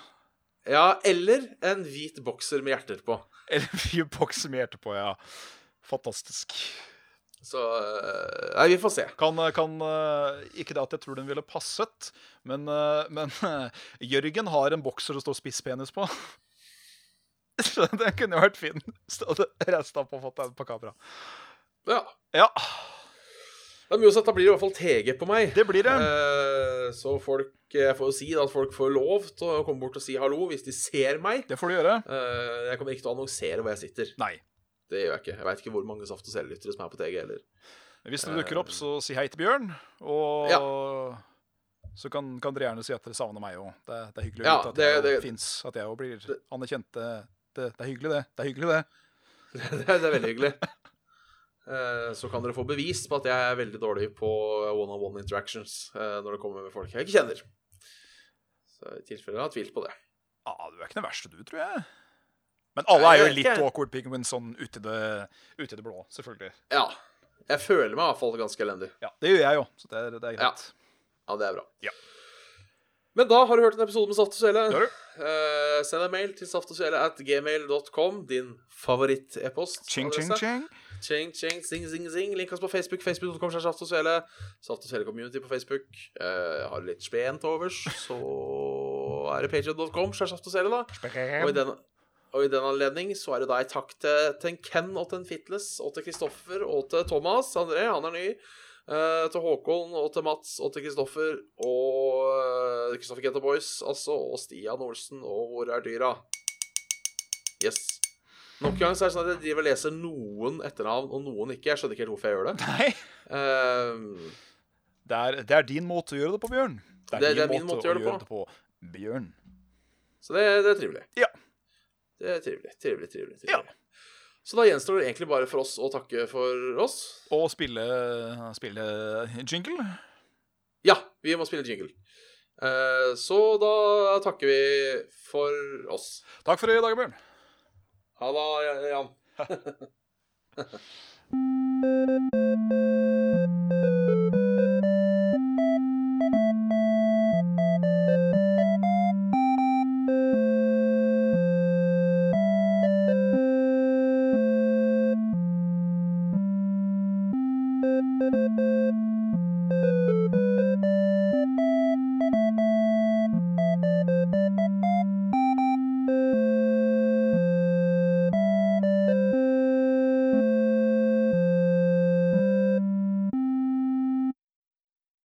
B: Ja, eller en hvit bokser med hjerter på.
C: Eller mye bokser med hjerte på, ja. Fantastisk.
B: Så eh, Nei, vi får se.
C: Kan, kan eh, Ikke det at jeg tror den ville passet, men, eh, men eh, Jørgen har en bokser det står spisspenis på. Så den kunne jo vært fin. Så hadde resten opp og fått den på kamera.
B: Ja.
C: Ja,
B: Det er mye å si at da blir det i hvert fall TG på meg.
C: det blir det.
B: Eh, så folk, jeg får jo si da, at folk får lov til å komme bort og si hallo hvis de ser meg.
C: Det får du gjøre.
B: Eh, jeg kommer ikke til å annonsere hvor jeg sitter.
C: Nei.
B: Det gjør jeg ikke. Jeg veit ikke hvor mange Saft og Sellyttere som er på TG heller.
C: Hvis
B: Eh.
C: det dukker opp, så si hei til Bjørn. Og så kan, kan dere gjerne si at dere savner meg òg. Det, det er hyggelig å
B: Ja,
C: vite at
B: det-
C: jeg
B: det-
C: òg fins. At jeg òg blir anerkjent. Det, det, det er hyggelig, det. Det er hyggelig, det.
B: det, er- det er veldig hyggelig. Eh, så kan dere få bevis på at jeg er veldig dårlig på one-on-one interactions eh, når det kommer med folk jeg ikke kjenner. Så i tilfelle jeg har tvilt på det.
C: Ja, du er ikke den verste, du, tror jeg. Men alle
B: Nei,
C: er jo
B: jeg vet
C: litt
B: ikke.
C: awkward penguins sånn ute i det, ut i det blå, selvfølgelig.
B: Ja. Jeg føler meg i hvert fall ganske elendig.
C: Ja, Det gjør jeg jo, så det, er- det
B: Ja.
C: er greit.
B: Ja, det er bra.
C: Ja.
B: Men da har du hørt en episode med Saft og Svele.
C: Det har du.
B: Eh, send en mail til saftogsvele at gmail.com, din favoritt-e-post.
C: Ching, ching,
B: adresse.
C: ching.
B: Ching, ching, zing, zing, zing. Link oss på Facebook. Facebook.com slash Saft og Svele. Saft og Svele community på Facebook. Eh, har du litt spent overs, så er det patreon.com slash Saft og Svele, da. Og i, den, og i den anledning så er det da en takk til, til en Ken og til en Fitles og til Kristoffer og til Thomas. André, han er ny. eh, til Håkon og til Mats og til Kristoffer og Kristoffer Get the Boys, altså. Og Stian Olsen og Hvor er dyra? Yes. Nok en gang så er det sånn at jeg driver og leser noen etternavn og noen ikke. Jeg skjønner ikke helt hvorfor jeg gjør det.
C: Nei,
B: Eh,
C: det er, det er din måte å gjøre det på, Bjørn.
B: Det- det er min måte å gjøre det på.
C: det på, Bjørn.
B: Så det, det er trivelig.
C: Ja.
B: Det er trivelig, trivelig, trivelig.
C: Ja.
B: trivelig. Så da gjenstår det egentlig bare for oss å takke for oss.
C: Og spille, spille jingle.
B: Ja, vi må spille jingle. Eh, Så da takker vi for oss.
C: Takk for i dag, Bjørn.
B: Ha det, Jan.